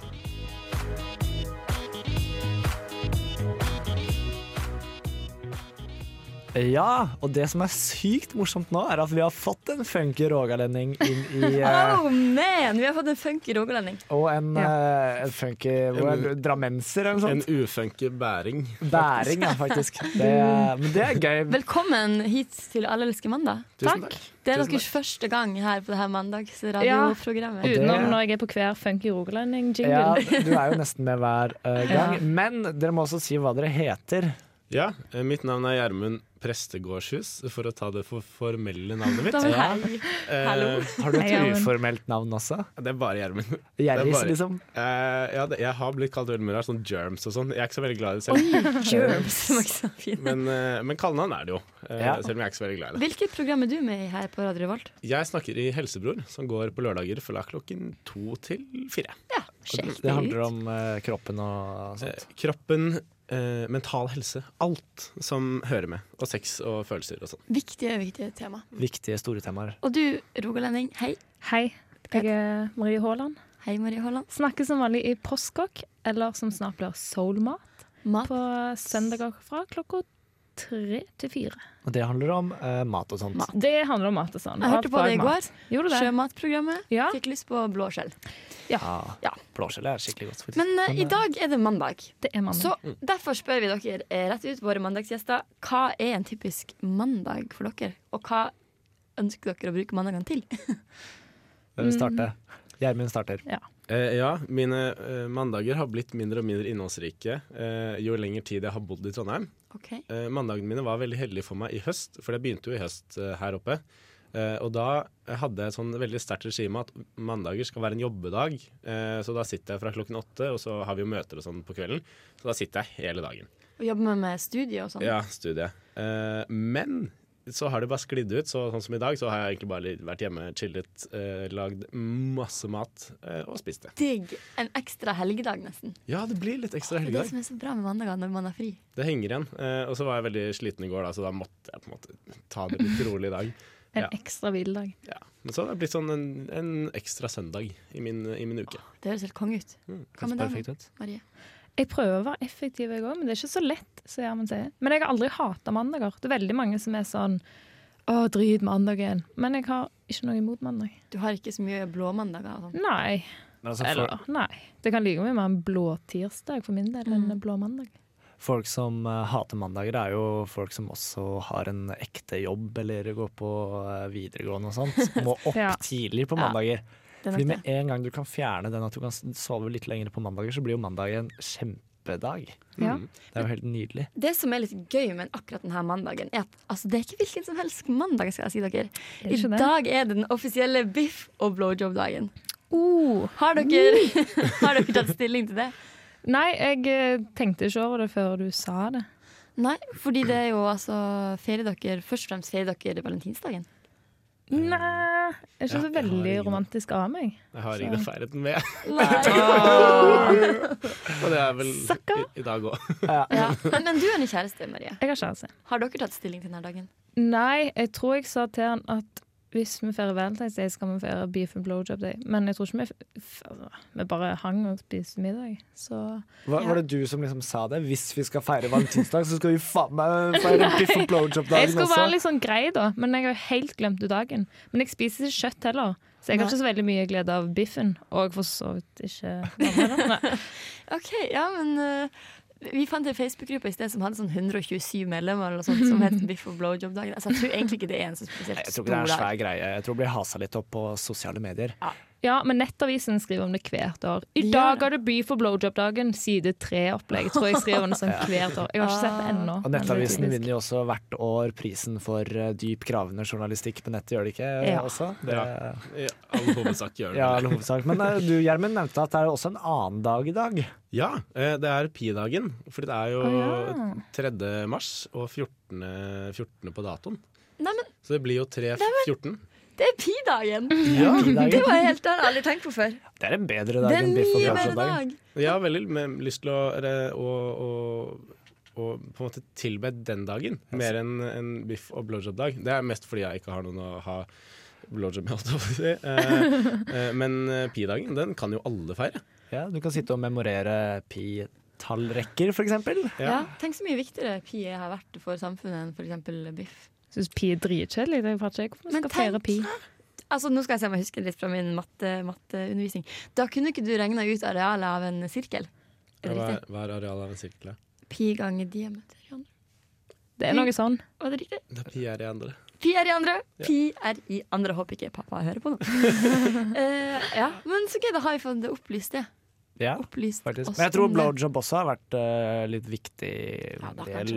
[SPEAKER 2] Ja, og det som er sykt morsomt nå, er at vi har fått en funky rogalending inn
[SPEAKER 3] [LAUGHS]
[SPEAKER 2] i eh,
[SPEAKER 3] Oh man, vi har fått en funky rogalending.
[SPEAKER 2] Og en, eh, en funky en, drammenser eller noe
[SPEAKER 7] En
[SPEAKER 2] sånt.
[SPEAKER 7] ufunky bæring.
[SPEAKER 2] Bæring, ja, faktisk. Det, er- men det er
[SPEAKER 3] [LAUGHS]
[SPEAKER 2] gøy.
[SPEAKER 3] Velkommen hit til Alle elsker mandag.
[SPEAKER 7] Tusen
[SPEAKER 8] Takk.
[SPEAKER 3] Det er
[SPEAKER 7] Tusen
[SPEAKER 3] deres første gang her på det her mandagsradioprogrammet.
[SPEAKER 2] Ja.
[SPEAKER 8] Utenom
[SPEAKER 2] det-
[SPEAKER 8] når jeg er på hver funky rogalending-jingle.
[SPEAKER 2] Ja, du er jo nesten med hver eh, gang.
[SPEAKER 8] Ja.
[SPEAKER 2] Men dere må også si hva dere heter.
[SPEAKER 7] Ja, eh, mitt navn er Gjermund Prestegårdshus, for å ta det for formelle navnet
[SPEAKER 3] [LAUGHS]
[SPEAKER 7] mitt.
[SPEAKER 3] Da var hei.
[SPEAKER 7] Eh,
[SPEAKER 3] hallo.
[SPEAKER 2] Har du
[SPEAKER 8] [LAUGHS]
[SPEAKER 2] et
[SPEAKER 8] Hei, Jan.
[SPEAKER 2] uformelt navn også?
[SPEAKER 7] det er bare Gjermund. Det er
[SPEAKER 2] Gjerris,
[SPEAKER 7] bare-
[SPEAKER 2] liksom.
[SPEAKER 7] Eh, ja, det, jeg har blitt kalt veldig mye rart, sånn germs og sånn. Jeg er ikke så veldig glad i det selv,
[SPEAKER 3] Germs. [LAUGHS] Det var ikke så fint.
[SPEAKER 7] men, eh, men kallenavn er det jo. eh,
[SPEAKER 2] Ja.
[SPEAKER 7] Selv om jeg er ikke så veldig glad i det.
[SPEAKER 3] Hvilket program er du med i her på Radio Revolt?
[SPEAKER 7] Jeg snakker i Helsebror, som går på lørdager fra klokken to til fire.
[SPEAKER 3] Ja, sjekk
[SPEAKER 2] Det
[SPEAKER 3] det ut.
[SPEAKER 2] handler om eh, kroppen og
[SPEAKER 7] Eh,
[SPEAKER 2] sånt.
[SPEAKER 7] kroppen, eh, mental helse, alt som hører med. Og sex og følelser og sånn.
[SPEAKER 3] Viktige, viktige tema.
[SPEAKER 2] Viktige store temaer.
[SPEAKER 3] Og du, rogalending, hei.
[SPEAKER 8] Hei, jeg er Marie Haaland.
[SPEAKER 3] Hei, Marie Holland.
[SPEAKER 8] Snakker som vanlig i postkokk, eller som snart blir soulmat,
[SPEAKER 3] Mat.
[SPEAKER 8] på søndager fra klokka tre til fire.
[SPEAKER 2] Og det handler om eh, mat og sånt.
[SPEAKER 3] Mat.
[SPEAKER 8] Det handler om mat og sånn.
[SPEAKER 3] Jeg hørte på det i går.
[SPEAKER 8] Gjorde du det?
[SPEAKER 3] Sjømatprogrammet.
[SPEAKER 8] Ja.
[SPEAKER 3] Fikk lyst på blåskjell.
[SPEAKER 2] Ah,
[SPEAKER 3] Ja.
[SPEAKER 2] Blåskjell er skikkelig godt. faktisk.
[SPEAKER 3] Men eh, i dag er det mandag,
[SPEAKER 8] Det er mandag.
[SPEAKER 3] så
[SPEAKER 7] Mm.
[SPEAKER 3] derfor spør vi dere eh, rett ut, våre mandagsgjester, hva er en typisk mandag for dere? Og hva ønsker dere å bruke mandagene til?
[SPEAKER 2] Dere Eh, starter. Gjermund starter.
[SPEAKER 7] Eh, ja, mine eh, mandager har blitt mindre og mindre innholdsrike eh, jo lenger tid jeg har bodd i Trondheim.
[SPEAKER 3] Ok.
[SPEAKER 7] Eh, mandagene mine var veldig heldige for meg i høst, for det begynte jo i høst eh, her oppe. Eh, og da hadde jeg et sånn veldig sterkt regime at mandager skal være en jobbedag. Eh, så da sitter jeg fra klokken åtte, og så har vi jo møter og sånn på kvelden. Så da sitter jeg hele dagen.
[SPEAKER 3] Og jobber med, med studier og sånn.
[SPEAKER 7] Ja, studiet. Eh, men så har det bare sklidd ut. Så, sånn som i dag, så har jeg egentlig bare li- vært hjemme, chillet, eh, lagd masse mat eh, og spist det.
[SPEAKER 3] Digg. En ekstra helgedag, nesten.
[SPEAKER 7] Ja, det blir litt ekstra
[SPEAKER 3] Det er det
[SPEAKER 7] helgedag.
[SPEAKER 3] som er så bra med mandager når man har fri.
[SPEAKER 7] Det henger igjen. Eh, og så var jeg veldig sliten i går, da, så da måtte jeg på en måte ta det litt rolig i dag.
[SPEAKER 8] En
[SPEAKER 7] Ja.
[SPEAKER 8] ekstra hviledag.
[SPEAKER 7] Ja. Men så har det blitt sånn en, en ekstra søndag i min, i min uke.
[SPEAKER 3] Det høres helt konge ut.
[SPEAKER 7] Mm,
[SPEAKER 3] Hva med deg,
[SPEAKER 2] Perfekt ut.
[SPEAKER 3] Marie?
[SPEAKER 8] Jeg prøver å være effektiv, jeg òg, men det er ikke så lett. Så gjør man sier. Men jeg har aldri hata mandager. Det er veldig mange som er sånn Å, drit mandagen. Men jeg har ikke noe imot mandag.
[SPEAKER 3] Du har ikke så mye blåmandager og sånn.
[SPEAKER 8] Nei.
[SPEAKER 2] Men altså, for,
[SPEAKER 8] Eller nei. Det kan like mye være en blå tirsdag for min del
[SPEAKER 7] Mm.
[SPEAKER 8] enn en blå mandag.
[SPEAKER 2] Folk som eh, hater mandager, er jo folk som også har en ekte jobb eller går på eh, videregående og sånt. Må opp
[SPEAKER 8] Ja.
[SPEAKER 2] tidlig på
[SPEAKER 8] Ja.
[SPEAKER 2] mandager.
[SPEAKER 3] Det er
[SPEAKER 2] Fordi
[SPEAKER 3] nok
[SPEAKER 2] med
[SPEAKER 3] det.
[SPEAKER 2] en gang du kan fjerne den at du kan s- sove litt lenger på mandager, så blir jo mandag en kjempedag. Mm.
[SPEAKER 8] Ja.
[SPEAKER 2] Det er jo helt nydelig.
[SPEAKER 3] Det som er litt gøy med akkurat denne mandagen, er at altså, det er ikke hvilken som helst mandag. skal jeg si dere.
[SPEAKER 8] Er
[SPEAKER 3] I
[SPEAKER 8] det ikke det?
[SPEAKER 3] dag er det den offisielle biff- og blowjob-dagen.
[SPEAKER 8] Oh.
[SPEAKER 3] Har dere, [LAUGHS] har dere tatt stilling til det?
[SPEAKER 8] Nei, jeg eh, tenkte ikke over det før du sa det.
[SPEAKER 3] Nei, fordi det er jo altså feirer dere, Først og fremst feirer dere valentinsdagen.
[SPEAKER 8] Nei, det er ikke
[SPEAKER 7] Ja,
[SPEAKER 8] så
[SPEAKER 7] jeg har
[SPEAKER 8] veldig
[SPEAKER 7] ingen-
[SPEAKER 8] romantisk av meg.
[SPEAKER 7] Jeg har ingen feiret den med, og det er vel i,
[SPEAKER 8] Sucker.
[SPEAKER 7] i dag òg.
[SPEAKER 3] Ja. Men, men du er en kjæreste, Marie.
[SPEAKER 8] Jeg har kjæreste.
[SPEAKER 3] Har dere tatt stilling til denne dagen?
[SPEAKER 8] Nei, jeg tror jeg sa til han at hvis vi feirer Valentine's Day, skal vi feire beef and blowjob day. Men jeg tror ikke vi f- altså, Vi bare hang og spiste middag. Så
[SPEAKER 2] Var, var det du som liksom sa det? Hvis vi skal feire valentinsdag, så skal vi faen meg feire biff og
[SPEAKER 8] Jeg
[SPEAKER 2] blowjob-dagen
[SPEAKER 8] skulle
[SPEAKER 2] også.
[SPEAKER 8] være litt sånn grei, da, men jeg har jo helt glemt ut dagen. Men jeg spiser ikke kjøtt heller, så jeg har
[SPEAKER 3] Nei.
[SPEAKER 8] ikke så veldig mye glede av biffen. Og for så vidt ikke [LAUGHS] mamma, da.
[SPEAKER 3] Ok, ja, men eh, Vi fant en Facebook-gruppe i sted som hadde sånn 127 medlemmer eller noe sånt,
[SPEAKER 2] [LAUGHS]
[SPEAKER 3] som het Biff og blowjob-dagen. Altså, jeg tror egentlig ikke det er en så
[SPEAKER 2] Nei,
[SPEAKER 3] spesielt
[SPEAKER 2] Jeg tror
[SPEAKER 3] stor
[SPEAKER 2] ikke det er en
[SPEAKER 3] dag.
[SPEAKER 2] svær greie. Jeg tror det blir hasa litt opp på sosiale medier.
[SPEAKER 8] Ja, men Nettavisen skriver om det hvert år. I
[SPEAKER 3] De gjør
[SPEAKER 8] dag
[SPEAKER 3] det.
[SPEAKER 8] er det beef and blowjob-dagen, side tre-opplegg. Jeg tror jeg skriver om det sånn hvert år. Jeg har ikke sett det
[SPEAKER 2] Og
[SPEAKER 8] ennå. men det er
[SPEAKER 2] Nettavisen
[SPEAKER 8] typisk.
[SPEAKER 2] vinner jo også hvert år prisen for eh, dyp gravende journalistikk på nettet, gjør de ikke? eh,
[SPEAKER 8] Ja.
[SPEAKER 2] Også? Det,
[SPEAKER 7] Ja. I all hovedsak gjør den
[SPEAKER 2] ja,
[SPEAKER 7] det.
[SPEAKER 2] i hovedsak. Men eh, du, Gjermund, nevnte at det er også en annen dag i dag.
[SPEAKER 7] Ja, eh, det er pi-dagen, for det er jo
[SPEAKER 8] Å, ja.
[SPEAKER 7] 3. mars og 14. 14. på datoen.
[SPEAKER 3] Nei, men
[SPEAKER 7] Så det blir jo 3.14.
[SPEAKER 3] det er pi-dagen!
[SPEAKER 2] Pi-dagen.
[SPEAKER 3] Det var jeg helt, det har jeg aldri tenkt på før.
[SPEAKER 2] Det er en bedre dag
[SPEAKER 3] Det er en
[SPEAKER 2] enn biff og
[SPEAKER 3] mye bedre
[SPEAKER 2] blowjob-dagen.
[SPEAKER 3] dag.
[SPEAKER 7] Jeg har veldig med- lyst til å, re- å, å å på en måte tilbe den dagen, mer enn en biff og blowjob-dag. Det er mest fordi jeg ikke har noen å ha blowjob med, holdt jeg på å si. Eh, eh, men eh, pi-dagen, den kan jo alle feire.
[SPEAKER 2] Ja, du kan sitte og memorere pi-tallrekker, for eksempel.
[SPEAKER 3] Ja. Tenk så mye viktigere pi har vært for samfunnet enn for eksempel biff.
[SPEAKER 8] Syns pi er dritkjedelig. Det er faktisk ikke hvorfor vi
[SPEAKER 3] Men
[SPEAKER 8] skal feire
[SPEAKER 3] tenk-
[SPEAKER 8] pi.
[SPEAKER 3] Altså, nå skal jeg se om jeg husker litt fra min matte, matteundervisning. Da kunne ikke du regna ut arealet av en sirkel. Er det
[SPEAKER 7] Hva
[SPEAKER 3] riktig?
[SPEAKER 7] er hva er arealet av en sirkel? da?
[SPEAKER 3] Pi ganger diameter. i andre.
[SPEAKER 8] Det er noe sånn.
[SPEAKER 3] Var det riktig?
[SPEAKER 7] Det er pi er i andre.
[SPEAKER 3] Pi er i andre. Pi er i andre. Håper ikke pappa hører
[SPEAKER 2] [LAUGHS]
[SPEAKER 3] på nå. Eh, ja, men så gøy, da har vi fått opplyst det.
[SPEAKER 2] Ja,
[SPEAKER 3] Opplyst
[SPEAKER 2] faktisk.
[SPEAKER 3] oss
[SPEAKER 2] Men jeg tror
[SPEAKER 3] om det.
[SPEAKER 2] blowjob også har vært eh, litt viktig
[SPEAKER 3] Ja, da
[SPEAKER 2] del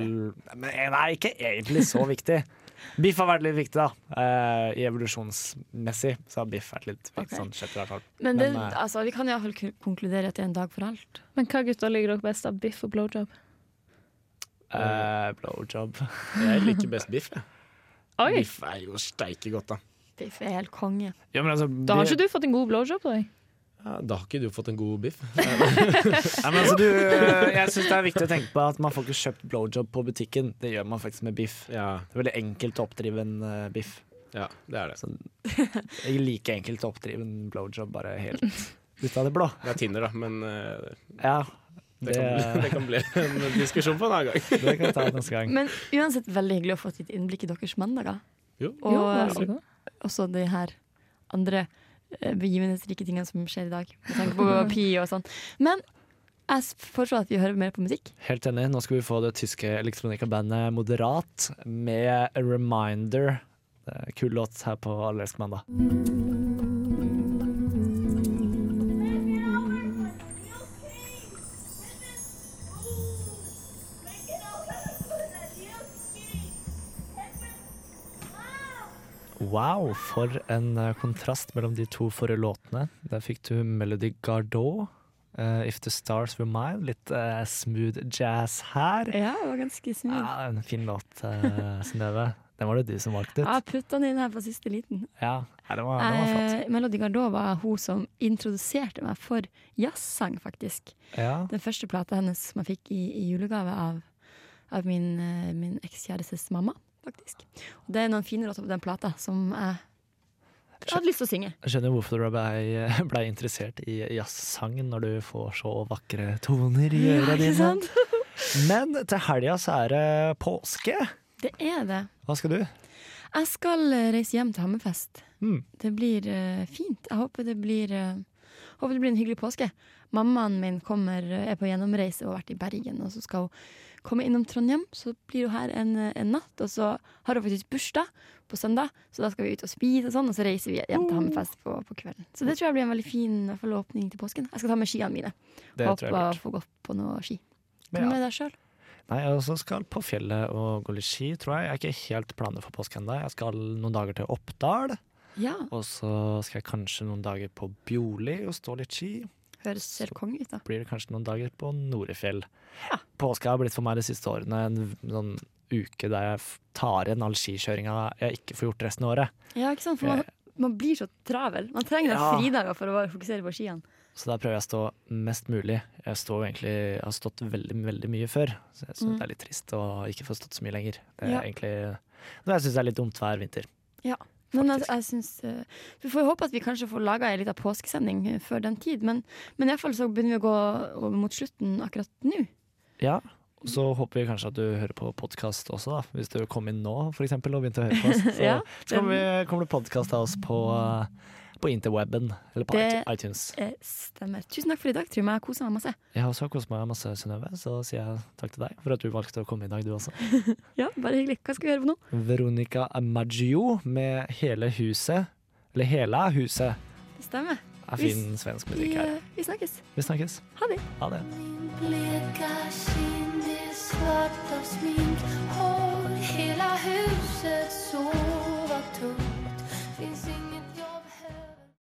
[SPEAKER 2] Men eh, nei, ikke egentlig så viktig.
[SPEAKER 8] [LAUGHS]
[SPEAKER 2] Biff har vært litt viktig, da. Eh, I evolusjonsmessig så har biff vært litt
[SPEAKER 3] Ok.
[SPEAKER 2] viktig. Sånn, sjette hvert fall.
[SPEAKER 3] Men det,
[SPEAKER 2] Men, eh,
[SPEAKER 3] altså, vi kan iallfall konkludere at det er en dag for alt.
[SPEAKER 8] Men hva gutter liker dere best av biff og blowjob? Mm.
[SPEAKER 2] Eh, blowjob.
[SPEAKER 7] Jeg liker best biff. jeg.
[SPEAKER 8] Oi!
[SPEAKER 7] Biff er jo steike godt, da.
[SPEAKER 3] Biff er helt konge.
[SPEAKER 2] Ja, men altså,
[SPEAKER 8] Da har
[SPEAKER 2] det-
[SPEAKER 8] ikke du fått en god blowjob på deg.
[SPEAKER 7] Ja, da har ikke du fått en god biff.
[SPEAKER 2] Nei, men altså, du, eh, jeg syns det er viktig å tenke på at man får ikke kjøpt blowjob på butikken. Det gjør man faktisk med biff.
[SPEAKER 7] Ja,
[SPEAKER 2] Det er veldig enkelt å oppdrive en eh, biff.
[SPEAKER 7] ja det er det.
[SPEAKER 2] Jeg liker enkelt å oppdrive en blowjob bare helt
[SPEAKER 8] [LAUGHS]
[SPEAKER 2] ut av det blå.
[SPEAKER 7] Det er Tinder, da, men eh,
[SPEAKER 2] Ja,
[SPEAKER 7] det, kan bli, det kan bli en diskusjon på en annen gang.
[SPEAKER 2] det kan vi ta neste [LAUGHS] gang.
[SPEAKER 3] Men uansett veldig hyggelig å få et innblikk i deres mandager.
[SPEAKER 7] Jo.
[SPEAKER 3] Og
[SPEAKER 8] Jo, vær så god.
[SPEAKER 3] også de her andre eh, begivenhetsrike tingene som skjer i dag. Med tanke på [LAUGHS] pi og sånn. Men jeg s- foreslår at vi hører mer på musikk.
[SPEAKER 2] Helt enig. Nå skal vi få det tyske elektronikkabandet Moderat med A Reminder. Det er en Kul låt her på Allersk mandag. Wow, for en eh, kontrast mellom de to forrige låtene. Der fikk du Melody Gardot, eh, If The Stars Were Mine. Litt eh, smooth jazz her.
[SPEAKER 3] Ja, det var ganske smooth.
[SPEAKER 2] Ja, en fin låt, uh, Synnøve. Den var det du som valgte ut.
[SPEAKER 3] Jeg har putta den inn her på siste liten.
[SPEAKER 2] Ja, ja den, var, den var flott.
[SPEAKER 3] Eh, Melody Gardot var hun som introduserte meg for jazzsang, faktisk.
[SPEAKER 2] Ja.
[SPEAKER 3] Den første plata hennes som jeg fikk i, i julegave av, av min, eh, min ekskjærestes mamma, faktisk. Og det er noen fine låter på den plata som jeg hadde lyst til å synge.
[SPEAKER 2] Jeg skjønner hvorfor du ble, [LAUGHS] ble interessert i jazzsang når du får så vakre toner i øra
[SPEAKER 3] Ikke
[SPEAKER 2] dine.
[SPEAKER 3] sant?
[SPEAKER 2] Men til helga så er det påske.
[SPEAKER 3] Det er det.
[SPEAKER 2] Hva skal du?
[SPEAKER 3] Jeg skal eh, reise hjem til Hammerfest.
[SPEAKER 2] Mm.
[SPEAKER 3] Det blir eh, fint. Jeg håper det blir, eh, håper det blir en hyggelig påske. Mammaen min kommer, eh, er på gjennomreise og har vært i Bergen, og så skal hun komme innom Trondheim. Så blir hun her en, eh, en natt, og så har hun faktisk bursdag på søndag, så da skal vi ut og spise og sånn, og så reiser vi hjem til Hammerfest på, på kvelden. Så det tror jeg blir en veldig fin i hvert fall, åpning til påsken. Jeg skal ta med skiene mine.
[SPEAKER 2] Det tror jeg
[SPEAKER 3] håper
[SPEAKER 2] er lurt.
[SPEAKER 3] å få gått på noe ski. Hva
[SPEAKER 2] Men ja.
[SPEAKER 3] med deg sjøl?
[SPEAKER 2] Nei, jeg også skal på fjellet og gå litt ski, tror jeg. Jeg har ikke helt planer for påske ennå. Jeg skal noen dager til Oppdal,
[SPEAKER 3] Ja,
[SPEAKER 2] og så skal jeg kanskje noen dager på Bjoli og stå litt ski.
[SPEAKER 3] høres helt konge ut, da.
[SPEAKER 2] blir det kanskje noen dager på Norefjell. Påska har blitt for meg de siste årene en v- sånn uke der jeg f- tar igjen all skikjøringa jeg ikke får gjort resten av året.
[SPEAKER 3] Ja, ikke sant? For man, man blir så travel. Man trenger
[SPEAKER 2] Ja.
[SPEAKER 3] fridager for å bare fokusere på skiene.
[SPEAKER 2] Så der prøver jeg å stå mest mulig. Jeg, står jo egentlig, jeg har stått veldig veldig mye før, så jeg syns det er litt trist å ikke få stått så mye lenger. Det er
[SPEAKER 3] Mm. Ja.
[SPEAKER 2] egentlig noe jeg syns er litt dumt hver vinter.
[SPEAKER 3] Men jeg,
[SPEAKER 2] Faktisk.
[SPEAKER 3] jeg synes, eh, Vi får jo håpe at vi kanskje får laga ei lita påskesending eh, før den tid. Men, men iallfall så begynner vi å gå over mot slutten akkurat nå.
[SPEAKER 2] Ja, og Så håper vi kanskje at du hører på podkast også, da. Hvis du kom inn nå for eksempel, og begynte å høre på
[SPEAKER 3] [LAUGHS]
[SPEAKER 2] oss. Så,
[SPEAKER 3] Ja,
[SPEAKER 2] så kommer, vi, kommer det podkast av oss på, eh, på interweben, eller på
[SPEAKER 3] Det-
[SPEAKER 2] iTunes.
[SPEAKER 3] Eh, stemmer. Tusen takk for i dag, Trym. Jeg koser meg masse.
[SPEAKER 2] Jeg har også kost meg masse, Synnøve, så sier jeg takk til deg for at du valgte å komme i dag, du også.
[SPEAKER 3] Ja, Bare hyggelig. Hva skal vi gjøre på nå?
[SPEAKER 2] Veronica Maggio med Hele huset, eller Hela huset,
[SPEAKER 3] Det stemmer.
[SPEAKER 2] er fin svensk
[SPEAKER 3] Vi,
[SPEAKER 2] musikk her.
[SPEAKER 3] eh, vi snakkes.
[SPEAKER 2] Vi snakkes.
[SPEAKER 3] Ha det.
[SPEAKER 2] Ha det.
[SPEAKER 9] Bleka kind är svart av smink Hår